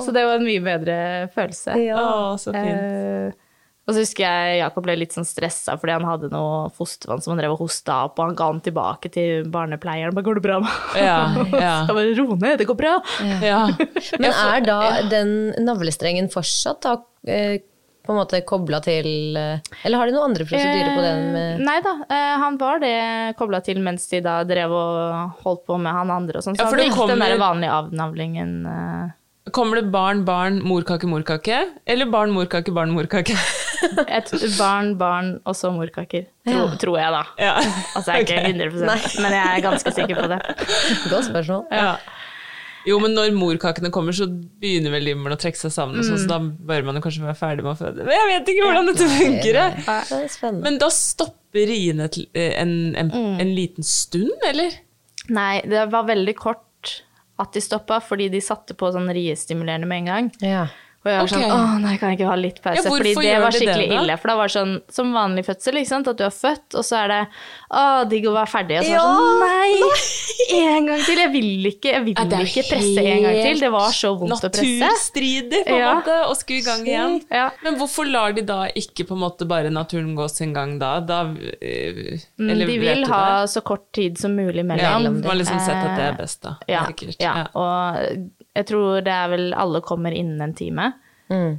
Så det var en mye bedre følelse. Å, så fint. Eh, og så husker jeg Jakob ble litt sånn stressa fordi han hadde noe fostervann som han drev og hosta opp, og han ga den tilbake til barnepleieren. Bare 'Går det bra?' med *laughs* Ja, ja. Så bare 'Ro ned, det går bra'. ja. *laughs* Men er da den navlestrengen fortsatt da, eh, på en måte kobla til eh, Eller har de noen andre prosedyrer på den? Eh, Med, Nei da, eh, han var det kobla til mens de da drev og holdt på med han andre og sånn. Så Ja, for han det fikk kommer- den der vanlige avnavlingen. eh. Kommer det barn, barn, morkake, morkake? Eller barn, morkake, barn, morkake? *laughs* Et barn, barn og så morkaker. Tro, Tror jeg, da. Ja. Altså, jeg er ikke 100 men jeg er ganske sikker på det. godt spørsmål. Ja. Jo, men når morkakene kommer, så begynner vel limmeren å trekke seg sammen, og sånn, så da Mm. bør man jo kanskje være ferdig med å føde. Men jeg vet ikke hvordan dette funker. jeg. Det er spennende. Men da stopper riene til- eh, en, en, Mm. en liten stund, eller? Nei, det var veldig kort at de stoppa, fordi de satte på sånn riestimulerende med en gang. Ja. Og jeg var Ok. sånn, åh nei, kan jeg ikke ha litt pause? Ja, hvorfor Fordi det gjør var de det skikkelig da? ille. For da var det sånn, som vanlig fødsel, ikke sant? At du er født, og så er det, åh, digg å være ferdig. Og så Ja, var det sånn, nei, en gang til. Jeg vil ikke, jeg vil det er ikke presse en gang til. Det var så vondt å presse. Naturstridig, på en Ja. måte, og skulle i gang igjen. Ja. Men hvorfor lar de da ikke på en måte bare naturen gå sin gang da? da eh, Mm, eller De vet vil du ha det? så kort tid som mulig ja, mellom. Eh, Man har liksom sett at det er best, da. Ja, Sikkert. ja. Ja. og jeg tror det er vel alle kommer innen en time.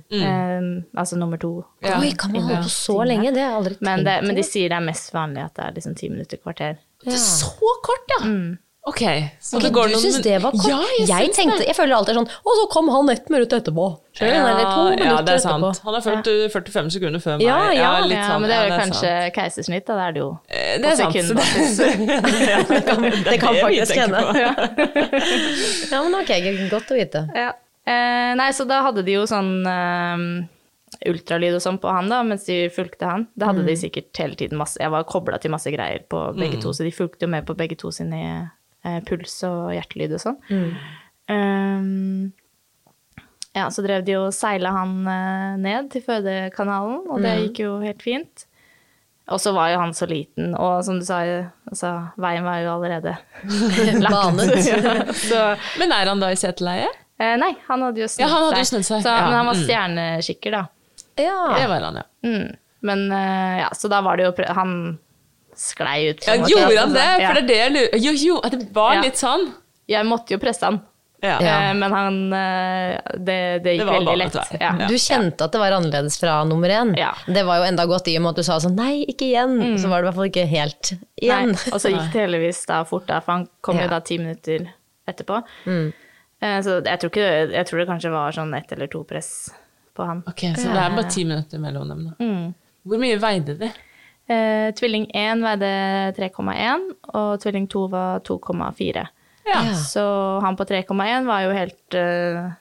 Eh, altså nummer to. Mm. Ja. Oi, kan man holde på så lenge? Det har jeg aldri tenkt Men, det, men de engang. sier det er mest vanlig at det er liksom ti minutter, kvarter. Det er så kort, ja! Mm. Ok. Så Ok, du syns det var kort? Ja, jeg, jeg, syns tenkte, jeg føler alltid sånn Å, så kom han ett minutt etterpå. Skjønner du? Eller to minutter ja, det er sant. etterpå. Han er født uh, 45 sekunder før meg. Ja, ja. *laughs* litt ja, sånn. men det er jo Ja, kanskje keisersnitt, da. Det er det jo. Eh, Det er på sant. sekundbasis. Ja, det kan, Det kan faktisk hende. Ja. *laughs* Ja, men ok, godt å vite. Eh, nei, så da hadde de jo sånn eh, ultralyd og sånn på han, da, mens de fulgte han. Da hadde Mm. de sikkert hele tiden masse Jeg var kobla til masse greier på begge to, så de fulgte jo med på begge to sine eh, puls og hjertelyd og sånn. Mm. Eh, ja, så drev Mm. de og seila han eh, ned til fødekanalen, og det gikk jo helt fint. Og så var jo han så liten, og som du sa, altså, veien var jo allerede Banet. Ja, så, *laughs* Men er han da i seteleie? eh, Nei, han hadde jo snudd Ja, han hadde jo snudd seg, Så, ja. Men han var Mm. stjernekikker, da. Det Ja. var han, ja. Mm. Men eh, ja, så da var det jo prø- Han sklei ut. på ja en måte, gjorde altså, han det? så- ja. For det er det jeg lurer Jo, jo, det var Ja. litt sånn. Jeg måtte jo presse han, Ja. Ja. eh, men han eh, Det, det Det gikk var veldig vanlig, lett. tror jeg. Ja. Ja. Du kjente at det var annerledes fra nummer én. Ja. Mm. Det var jo enda godt i og med at du sa sånn nei, ikke igjen. Så var det i hvert fall ikke helt igjen. Nei, altså, og så gikk det heldigvis da fort, da, for han kom Ja. jo da ti minutter etterpå. Mm. Eh, Så jeg tror, ikke, jeg tror det kanskje var sånn ett eller to press på han. Ok, Så det er bare ti minutter mellom dem, da. Hvor mye veide de? Eh, tvilling 1 veide 3,1, og tvilling 2 var 2,4. Ja. Så han på 3,1 var jo helt eh,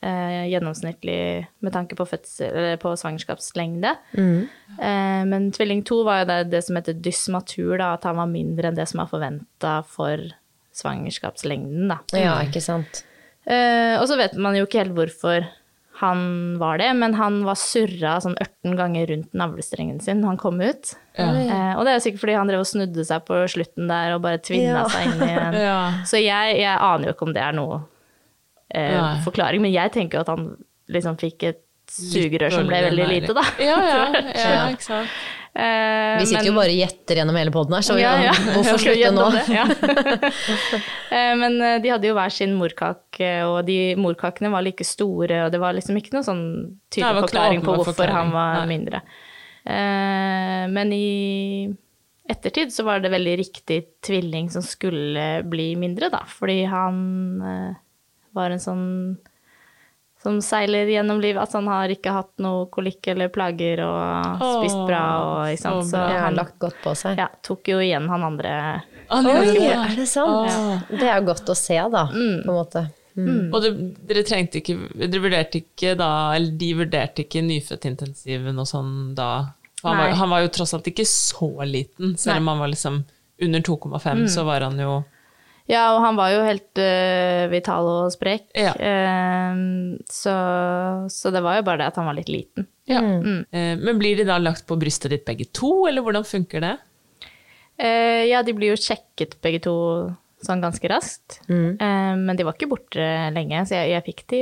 eh, gjennomsnittlig med tanke på, fødsel, eller på svangerskapslengde. Eh, men tvilling 2 var jo det, det som heter dysmatur, da, at han var mindre enn det som er forventa for svangerskapslengden. Da. *laughs* Ja, ikke sant. Eh, og så vet man jo ikke helt hvorfor han var det, men han var surra sånn 18 ganger rundt navlestrengen sin når han kom ut. Eh, og det er jo sikkert fordi han drev og snudde seg på slutten der og bare tvinna Ja. seg inn i en *laughs* Ja. Så jeg, jeg aner jo ikke om det er noe eh, Nei. forklaring, men jeg tenker jo at han liksom fikk et sugerør som ble Dårligere veldig næring. lite, da. Ja, ja, ja, ikke sant. Eh, Vi sitter men- jo bare og gjetter gjennom hele poden her, så vi ja, ja. *laughs* hvorfor Skal vi slutte nå? gjennom det? *laughs* *laughs* Ja. Eh, Men eh, de hadde jo hver sin morkake, og de morkakene var like store, og det var liksom ikke noen sånn Nei, det tydelig var ikke noe forklaring på åpenbar hvorfor forklaring. han var Nei. mindre. Eh, Men i ettertid så var det veldig riktig tvilling som skulle bli mindre, da, fordi han eh, var en sånn som seiler gjennom livet. At han har ikke hatt noe kolikk eller plager og spist Åh, bra. Og, ikke sant? så Så bra. Ja, han lagt godt på seg. ja, tok jo igjen han andre. Han Oi, gjorde det. er det sant? Det er jo godt å se, da, Mm. på en måte. Mm. Og det, dere trengte ikke Dere vurderte ikke da Eller de vurderte ikke nyfødtintensiven og sånn da? For Han var, Nei. han var jo tross alt ikke så liten, selv om han var liksom under 2,5, Mm. så var han jo Ja, og han var jo helt øh, vital og sprek. Ja. Ehm, så, så det var jo bare det at han var litt liten. ja. Mm. Eh, Men blir de da lagt på brystet ditt begge to, eller hvordan funker det? Eh, ja, de blir jo sjekket begge to sånn ganske raskt. Eh, men de var ikke borte lenge, så jeg, jeg fikk de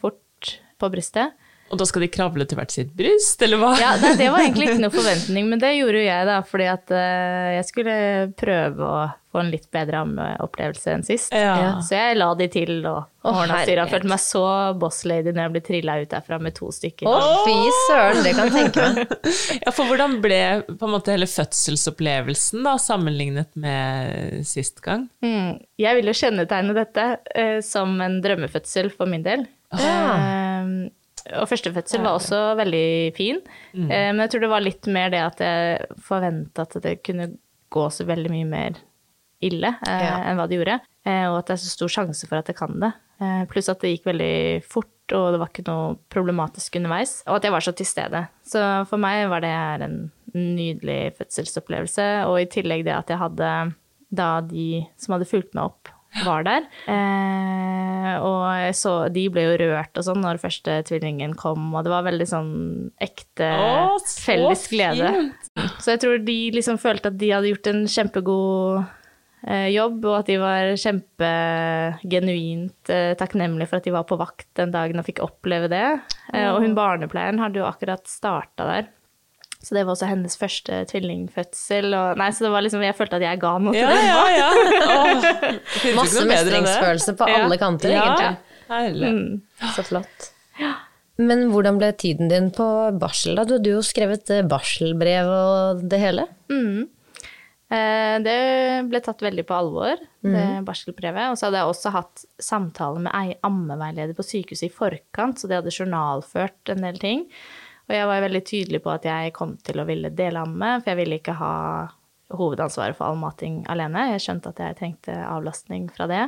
fort på brystet. Og da skal de kravle til hvert sitt bryst, eller hva? Ja, nei, det var egentlig ikke noe forventning, men det gjorde jo jeg da, fordi at eh, jeg skulle prøve å få en litt bedre ammeopplevelse enn sist. Ja. Så jeg la de til og Å, ordna styret. Jeg herlighet. følte meg så bosslady når jeg ble trilla ut derfra med to stykker. Å, fy søren, det kan jeg tenke meg. *laughs* Ja, for hvordan ble på en måte hele fødselsopplevelsen da, sammenlignet med sist gang? Mm. Jeg vil jo kjennetegne dette eh, som en drømmefødsel for min del. Eh, og førstefødsel var også veldig fin, eh, men jeg tror det var litt mer det at jeg forventa at det kunne gå så veldig mye mer ille eh, Ja. enn hva det gjorde, eh, og at det er så stor sjanse for at jeg kan det. Eh, pluss at det gikk veldig fort, og det var ikke noe problematisk underveis, og at jeg var så til stede. Så for meg var det her en nydelig fødselsopplevelse, og i tillegg det at jeg hadde da de som hadde fulgt meg opp, var der. Eh, og jeg så, de ble jo rørt og sånn når første tvillingen kom, og det var veldig sånn ekte Å, så felles glede. fint! Så jeg tror de liksom følte at de hadde gjort en kjempegod eh, jobb, og at de var kjempegenuint eh, takknemlige for at de var på vakt den dagen og fikk oppleve det. Eh, og hun barnepleieren hadde jo akkurat starta der. Så det var også hennes første tvillingfødsel. Og, nei, så det var liksom, jeg følte at jeg ga noe til Ja, dem. ja, *laughs* ja. Åh, finnes ikke Masse noe bedre enn det. mestringsfølelse på Ja. alle kanter, egentlig. Ja, herlig. Så flott. Men hvordan ble tiden din på barsel, da? Du hadde jo skrevet eh, barselbrev og det hele. Eh, Det ble tatt veldig på alvor, det barselbrevet. Og så hadde jeg også hatt samtale med ei ammeveileder på sykehuset i forkant, så de hadde journalført en del ting. Og jeg var veldig tydelig på at jeg kom til å ville dele amme, for jeg ville ikke ha hovedansvaret for all mating alene. Jeg skjønte at jeg trengte avlastning fra det.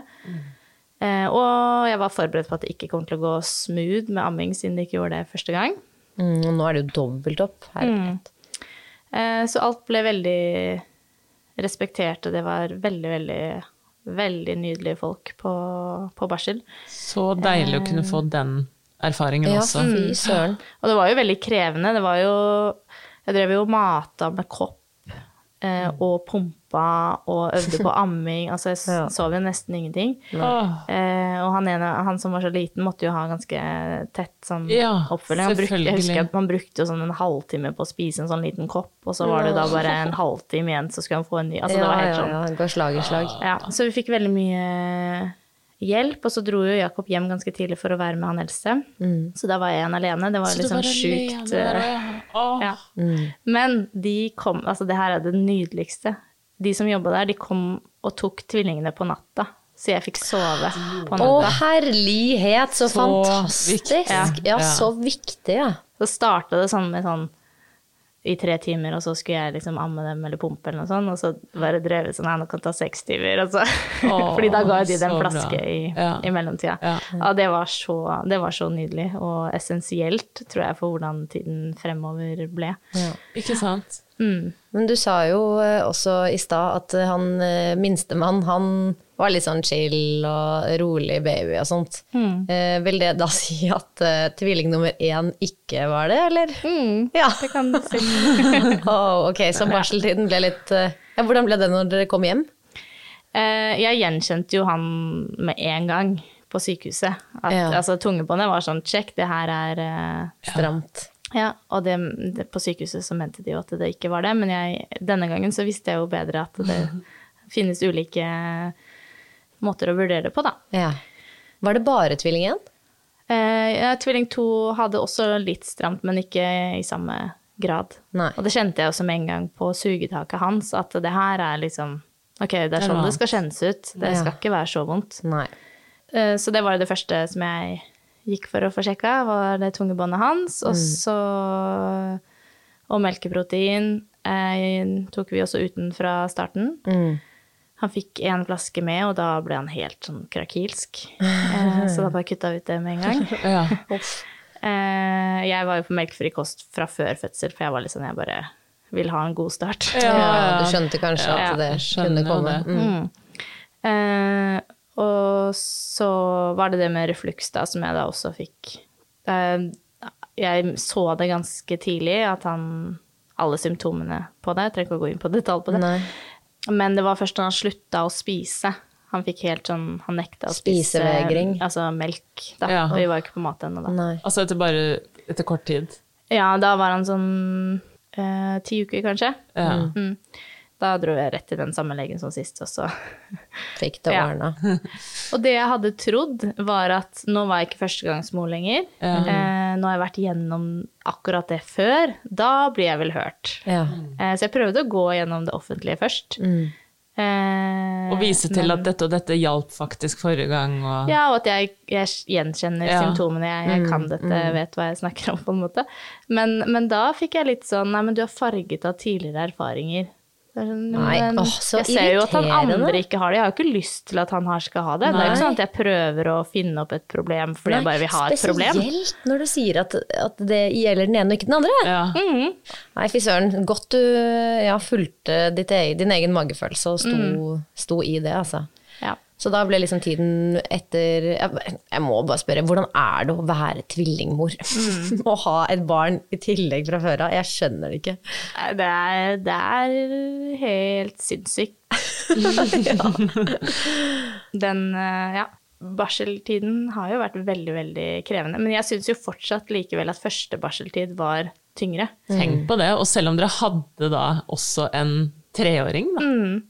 Eh, Og jeg var forberedt på at det ikke kom til å gå smooth med amming, siden de ikke gjorde det første gang. Mm, og nå er det jo dobbelt opp. Mm. Herlighet. Eh, Så alt ble veldig respektert, og det var veldig, veldig, veldig nydelige folk på, på barsel. Så deilig å kunne få den erfaringen Ja, sånn. også. fy søren. Og det var jo veldig krevende. Det var jo Jeg drev jo og mata med kopp eh, Mm. og pumpa og øvde *laughs* på amming. Altså, jeg s- sov jo nesten ingenting. Åh, Eh, og han, ene, han som var så liten, måtte jo ha ganske tett sånn, Ja, oppfølging. Han brukte, jeg selvfølgelig. husker at man brukte jo sånn en halvtime på å spise en sånn liten kopp, og så var det da bare en halvtime igjen, så skulle han få en ny. Altså, det var helt sånn. ja, Går slag i slag. Ja, så vi fikk veldig mye hjelp, og så dro jo Jakob hjem ganske tidlig for å være med han eldste. Så da var jeg igjen alene. Det var Mm. så litt du sånn var alene Mm. sjukt. der, eh, og Ja. ja. Åh, Men de kom Altså, det her er det nydeligste. De som jobba der, de kom og tok tvillingene på natta. Så jeg fikk sove på Å, natta. herlighet, så, Så fantastisk! viktig. Ja, Ja. så viktig, ja. Så starta det sånn med sånn i tre timer, og så skulle jeg liksom amme dem eller pumpe eller noe sånt, og så bare drevet sånn Nei, nå kan det ta seks timer, og så *laughs* Åh, Fordi da ga jo de så dem bra. flaske i, Ja. i mellomtida. Ja. Ja, det, var så, det var så nydelig, og essensielt, tror jeg, for hvordan tiden fremover ble. Ikke sant? Men du sa jo eh, også i stad at eh, han eh, minstemann, han var litt sånn chill og rolig baby og sånt. Mm. Eh, Vil det da *laughs* si at eh, tvilling nummer én ikke var det, eller? Ja. Mm. Det kan du si. *laughs* Å, ok, så barseltiden ble litt eh, ja, Hvordan ble det når dere kom hjem? Eh, jeg gjenkjente jo han med en gang på sykehuset. At, Ja. Altså, tungebåndet var sånn Sjekk, det her er eh, Stramt. Ja, og det, det, på sykehuset så mente de jo at det ikke var det, men jeg, denne gangen så visste jeg jo bedre at det finnes ulike måter å vurdere det på, da. Ja. Var det bare tvilling én? Eh, ja, tvilling to hadde også litt stramt, men ikke i samme grad. Nei. Og det kjente jeg også med en gang på sugetaket hans, at det her er liksom Ok, det er sånn noe det skal kjennes ut. Det Ja. skal ikke være så vondt. Nei. Eh, Så det var jo det første som jeg gikk for å få sjekka, var det tungebåndet hans. Og så Og melkeprotein eh, tok vi også uten fra starten. Han fikk én flaske med, og da ble han helt sånn krakilsk. Eh, så da bare kutta vi ut det med en gang. Ja. Eh, jeg var jo på melkefri kost fra før fødsel, for jeg var litt sånn, jeg bare vil ha en god start. Ja, du skjønte kanskje Ja, at det skjønner kunne komme. det. Mm. Eh, og så var det det med refluks, da, som jeg da også fikk. Eh, jeg så det ganske tidlig, at han Alle symptomene på det. Jeg trenger ikke å gå inn på detalj på det. Nei. Men det var først da han slutta å spise. Han fikk helt sånn Han nekta å spise Spisevegring. Altså melk, da. Ja. Vi var jo ikke på mat ennå, da. Nei. Altså etter bare etter kort tid. Ja, da var han sånn eh, ti uker, kanskje. Ja. Mm. Da dro jeg rett til den samme legen som sist, og så Fikk det Ja. ordna. Og det jeg hadde trodd, var at nå var jeg ikke førstegangsmor lenger. Eh, nå har jeg vært gjennom akkurat det før. Da blir jeg vel hørt. Ja. Eh, så jeg prøvde å gå gjennom det offentlige først. Eh, Og vise til men- at dette og dette hjalp faktisk forrige gang. Og... ja, og at jeg, jeg gjenkjenner Ja. symptomene. Jeg, Mm, jeg kan dette, jeg vet hva jeg snakker om, på en måte. Men, men da fikk jeg litt sånn Nei, men du er farget av tidligere erfaringer. Det er sånn, jo, Nei, men åh, så jeg ser jo at han irriterende. andre ikke har det. Jeg har jo ikke lyst til at han her skal ha det. Det er jo ikke Nei. sånn at jeg prøver å finne opp et problem fordi jeg bare vil ha et problem. Spesielt når du sier at, at det gjelder den ene og ikke den andre. Ja. Nei, fy søren. Godt du ja, fulgte ditt egen, din egen magefølelse og sto, sto i det, altså. Ja. Så da ble liksom tiden etter jeg, jeg må bare spørre, hvordan er det å være tvillingmor? Mm. *laughs* Å ha et barn i tillegg fra før av? Jeg skjønner det ikke. Nei, Det er, det er helt sinnssykt. Den eh, ja, barseltiden har jo vært veldig, veldig krevende. Men jeg syns jo fortsatt likevel at første barseltid var tyngre. Tenk på det. Og selv om dere hadde da også en treåring, Mm.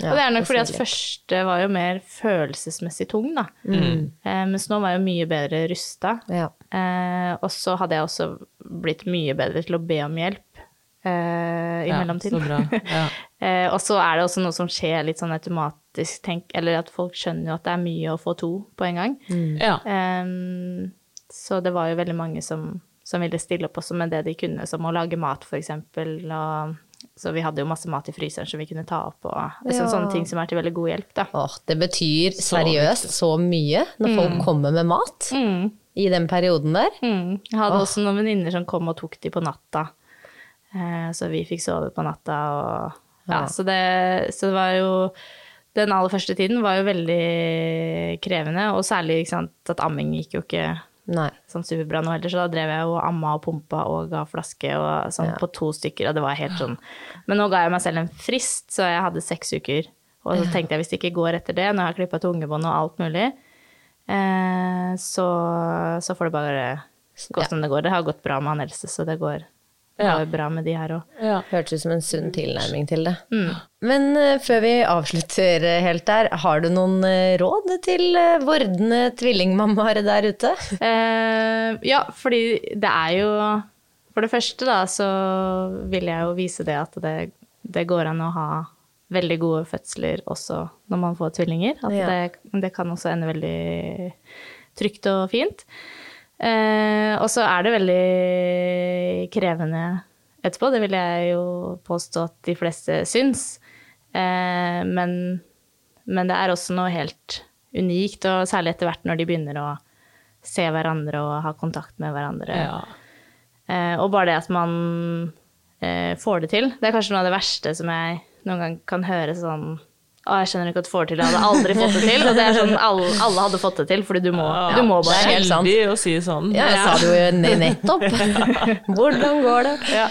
da. og det er nok fordi at første var jo mer følelsesmessig tung, da. Eh, mens nå var jeg jo mye bedre rusta. Ja. Eh, og så hadde jeg også blitt mye bedre til å be om hjelp eh, i Ja, mellomtiden. så bra. Ja. *laughs* eh, og så er det også noe som skjer litt sånn automatisk, tenk, eller at folk skjønner jo at det er mye å få to på en gang. Ja. Ehm, så det var jo veldig mange som, som ville stille opp også med det de kunne, som å lage mat, for eksempel. Og, så vi hadde jo masse mat i fryseren som vi kunne ta opp, og liksom, sånne ting som er til veldig god hjelp, da. Åh, det betyr seriøst så mye når folk kommer med mat i den perioden der. Mm. Jeg hadde også noen venninner som kom og tok de på natta. Eh, så vi fikk sove på natta og Ja, så det, så det var jo Den aller første tiden var jo veldig krevende, og særlig ikke sant, at amming gikk jo ikke Nei. sånn superbra nå heller, så da drev jeg og amma og pumpa og ga flaske og sånn på to stykker, og det var helt sånn. Men nå ga jeg meg selv en frist, så jeg hadde seks uker. Og så tenkte jeg hvis det ikke går etter det, når jeg har klippa tungebånd og alt mulig, eh, så, så får det bare gå som det går. Det har gått bra med han eldste, så det går, det Ja. går bra med de her òg. Hørtes ut som en sunn Mm. tilnærming til det. Men eh, før vi avslutter eh, helt der, har du noen eh, råd til eh, vordende tvillingmammaer der ute? Eh, ja, fordi det er jo For det første, da, så vil jeg jo vise det at det, det går an å ha veldig gode fødsler også når man får tvillinger. At Ja. det, det kan også ende veldig trygt og fint. Eh, og så er det veldig krevende etterpå. Det vil jeg jo påstå at de fleste syns. Eh, men, men det er også noe helt unikt, og særlig etter hvert når de begynner å se hverandre og ha kontakt med hverandre. Ja. Eh, og bare det at man eh, får det til. Det er kanskje noe av det verste som jeg noen gang kan høre sånn Å, jeg skjønner ikke at du får det til, jeg hadde aldri fått det til. Og det er sånn alle, alle hadde fått det til, fordi du må, du må det er bare. helt sant. Heldig å si sånn. Ja, jeg sa det jo *laughs* ne- nettopp. Hvordan går det? Ja.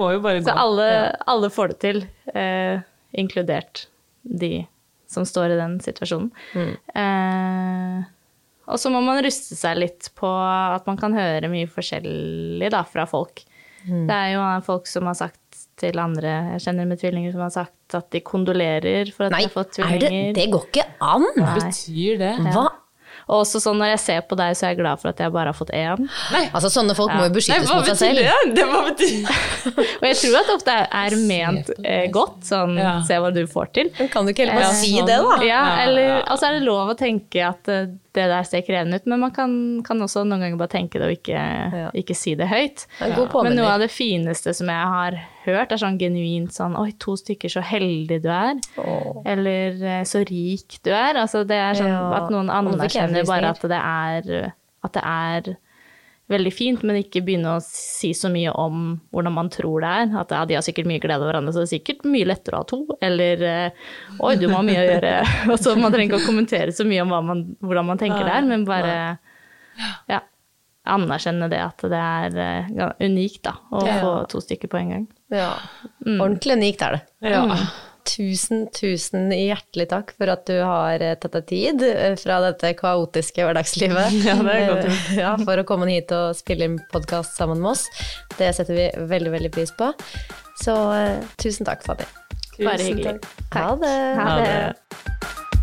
Må jo bare Så gå. alle, alle får det til, eh, inkludert de som står i den situasjonen. Mm. Eh, og så må man ruste seg litt på at man kan høre mye forskjellig da, fra folk. Mm. Det er jo folk som har sagt til andre jeg kjenner med tvillinger, som har sagt at de kondolerer for at Nei, de har fått er det, tvillinger. det går ikke an! Nei. Betyr det? Hva? Og også sånn når jeg ser på deg, så er jeg glad for at jeg bare har fått én. Altså, sånne folk må jo Nei, beskyttes hva mot seg betyr selv. det? det hva betyr... Og jeg tror at det ofte er ment på deg. eh, godt, sånn Ja. se hva du får til. Men kan du ikke heller bare Ja, si sånn. det, da? Ja, Ja, eller ja. altså er det lov å tenke at eh, det der ser krevende ut, men man kan, kan også noen ganger bare tenke det og ikke, ikke si det høyt. Det er en god Men noe påminner. av det fineste som jeg har hørt, er sånn genuint sånn Oi, to stykker, så heldig du er. Eller eh, så rik du er. Altså det er sånn Ja, at noen og det fikk jeg anerkjenner bare frysninger. at det er, at det er veldig fint, men ikke begynne å si så mye om hvordan man tror det er. At ja, de har sikkert mye glede av hverandre, så det er sikkert mye lettere å ha to. Eller eh, oi, du må ha mye å gjøre. *laughs* Og så Man trenger ikke å kommentere så mye om hva man, hvordan man tenker det er, men bare ja, anerkjenne det at det er eh, gan- unikt da, å få to stykker på en gang. Ja. Ordentlig unikt er det. Mm. Tusen, tusen hjertelig takk for at du har eh, tatt deg tid eh, fra dette kaotiske hverdagslivet *laughs* Ja, det er godt Eh, ja, for å komme hit og spille inn podkast sammen med oss. Det setter vi veldig, veldig pris på. Så eh, tusen takk, Fanny. Bare Tusen hyggelig. takk. Ha det. Ha det.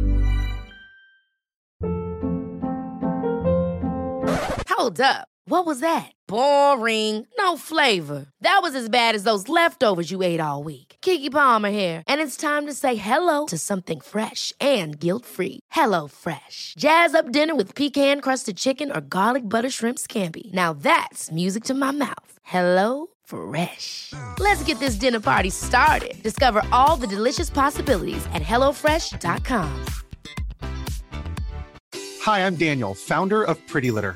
Hold up. What was that? Boring. No flavor. That was as bad as those leftovers you ate all week. Kiki Palmer here, and it's time to say hello to something fresh and guilt-free. Hello Fresh. Jazz up dinner with pecan-crusted chicken or garlic butter shrimp scampi. Now that's music to my mouth. Hello Fresh. Let's get this dinner party started. Discover all the delicious possibilities at hellofresh.com. Hi, I'm Daniel, founder of Pretty Litter.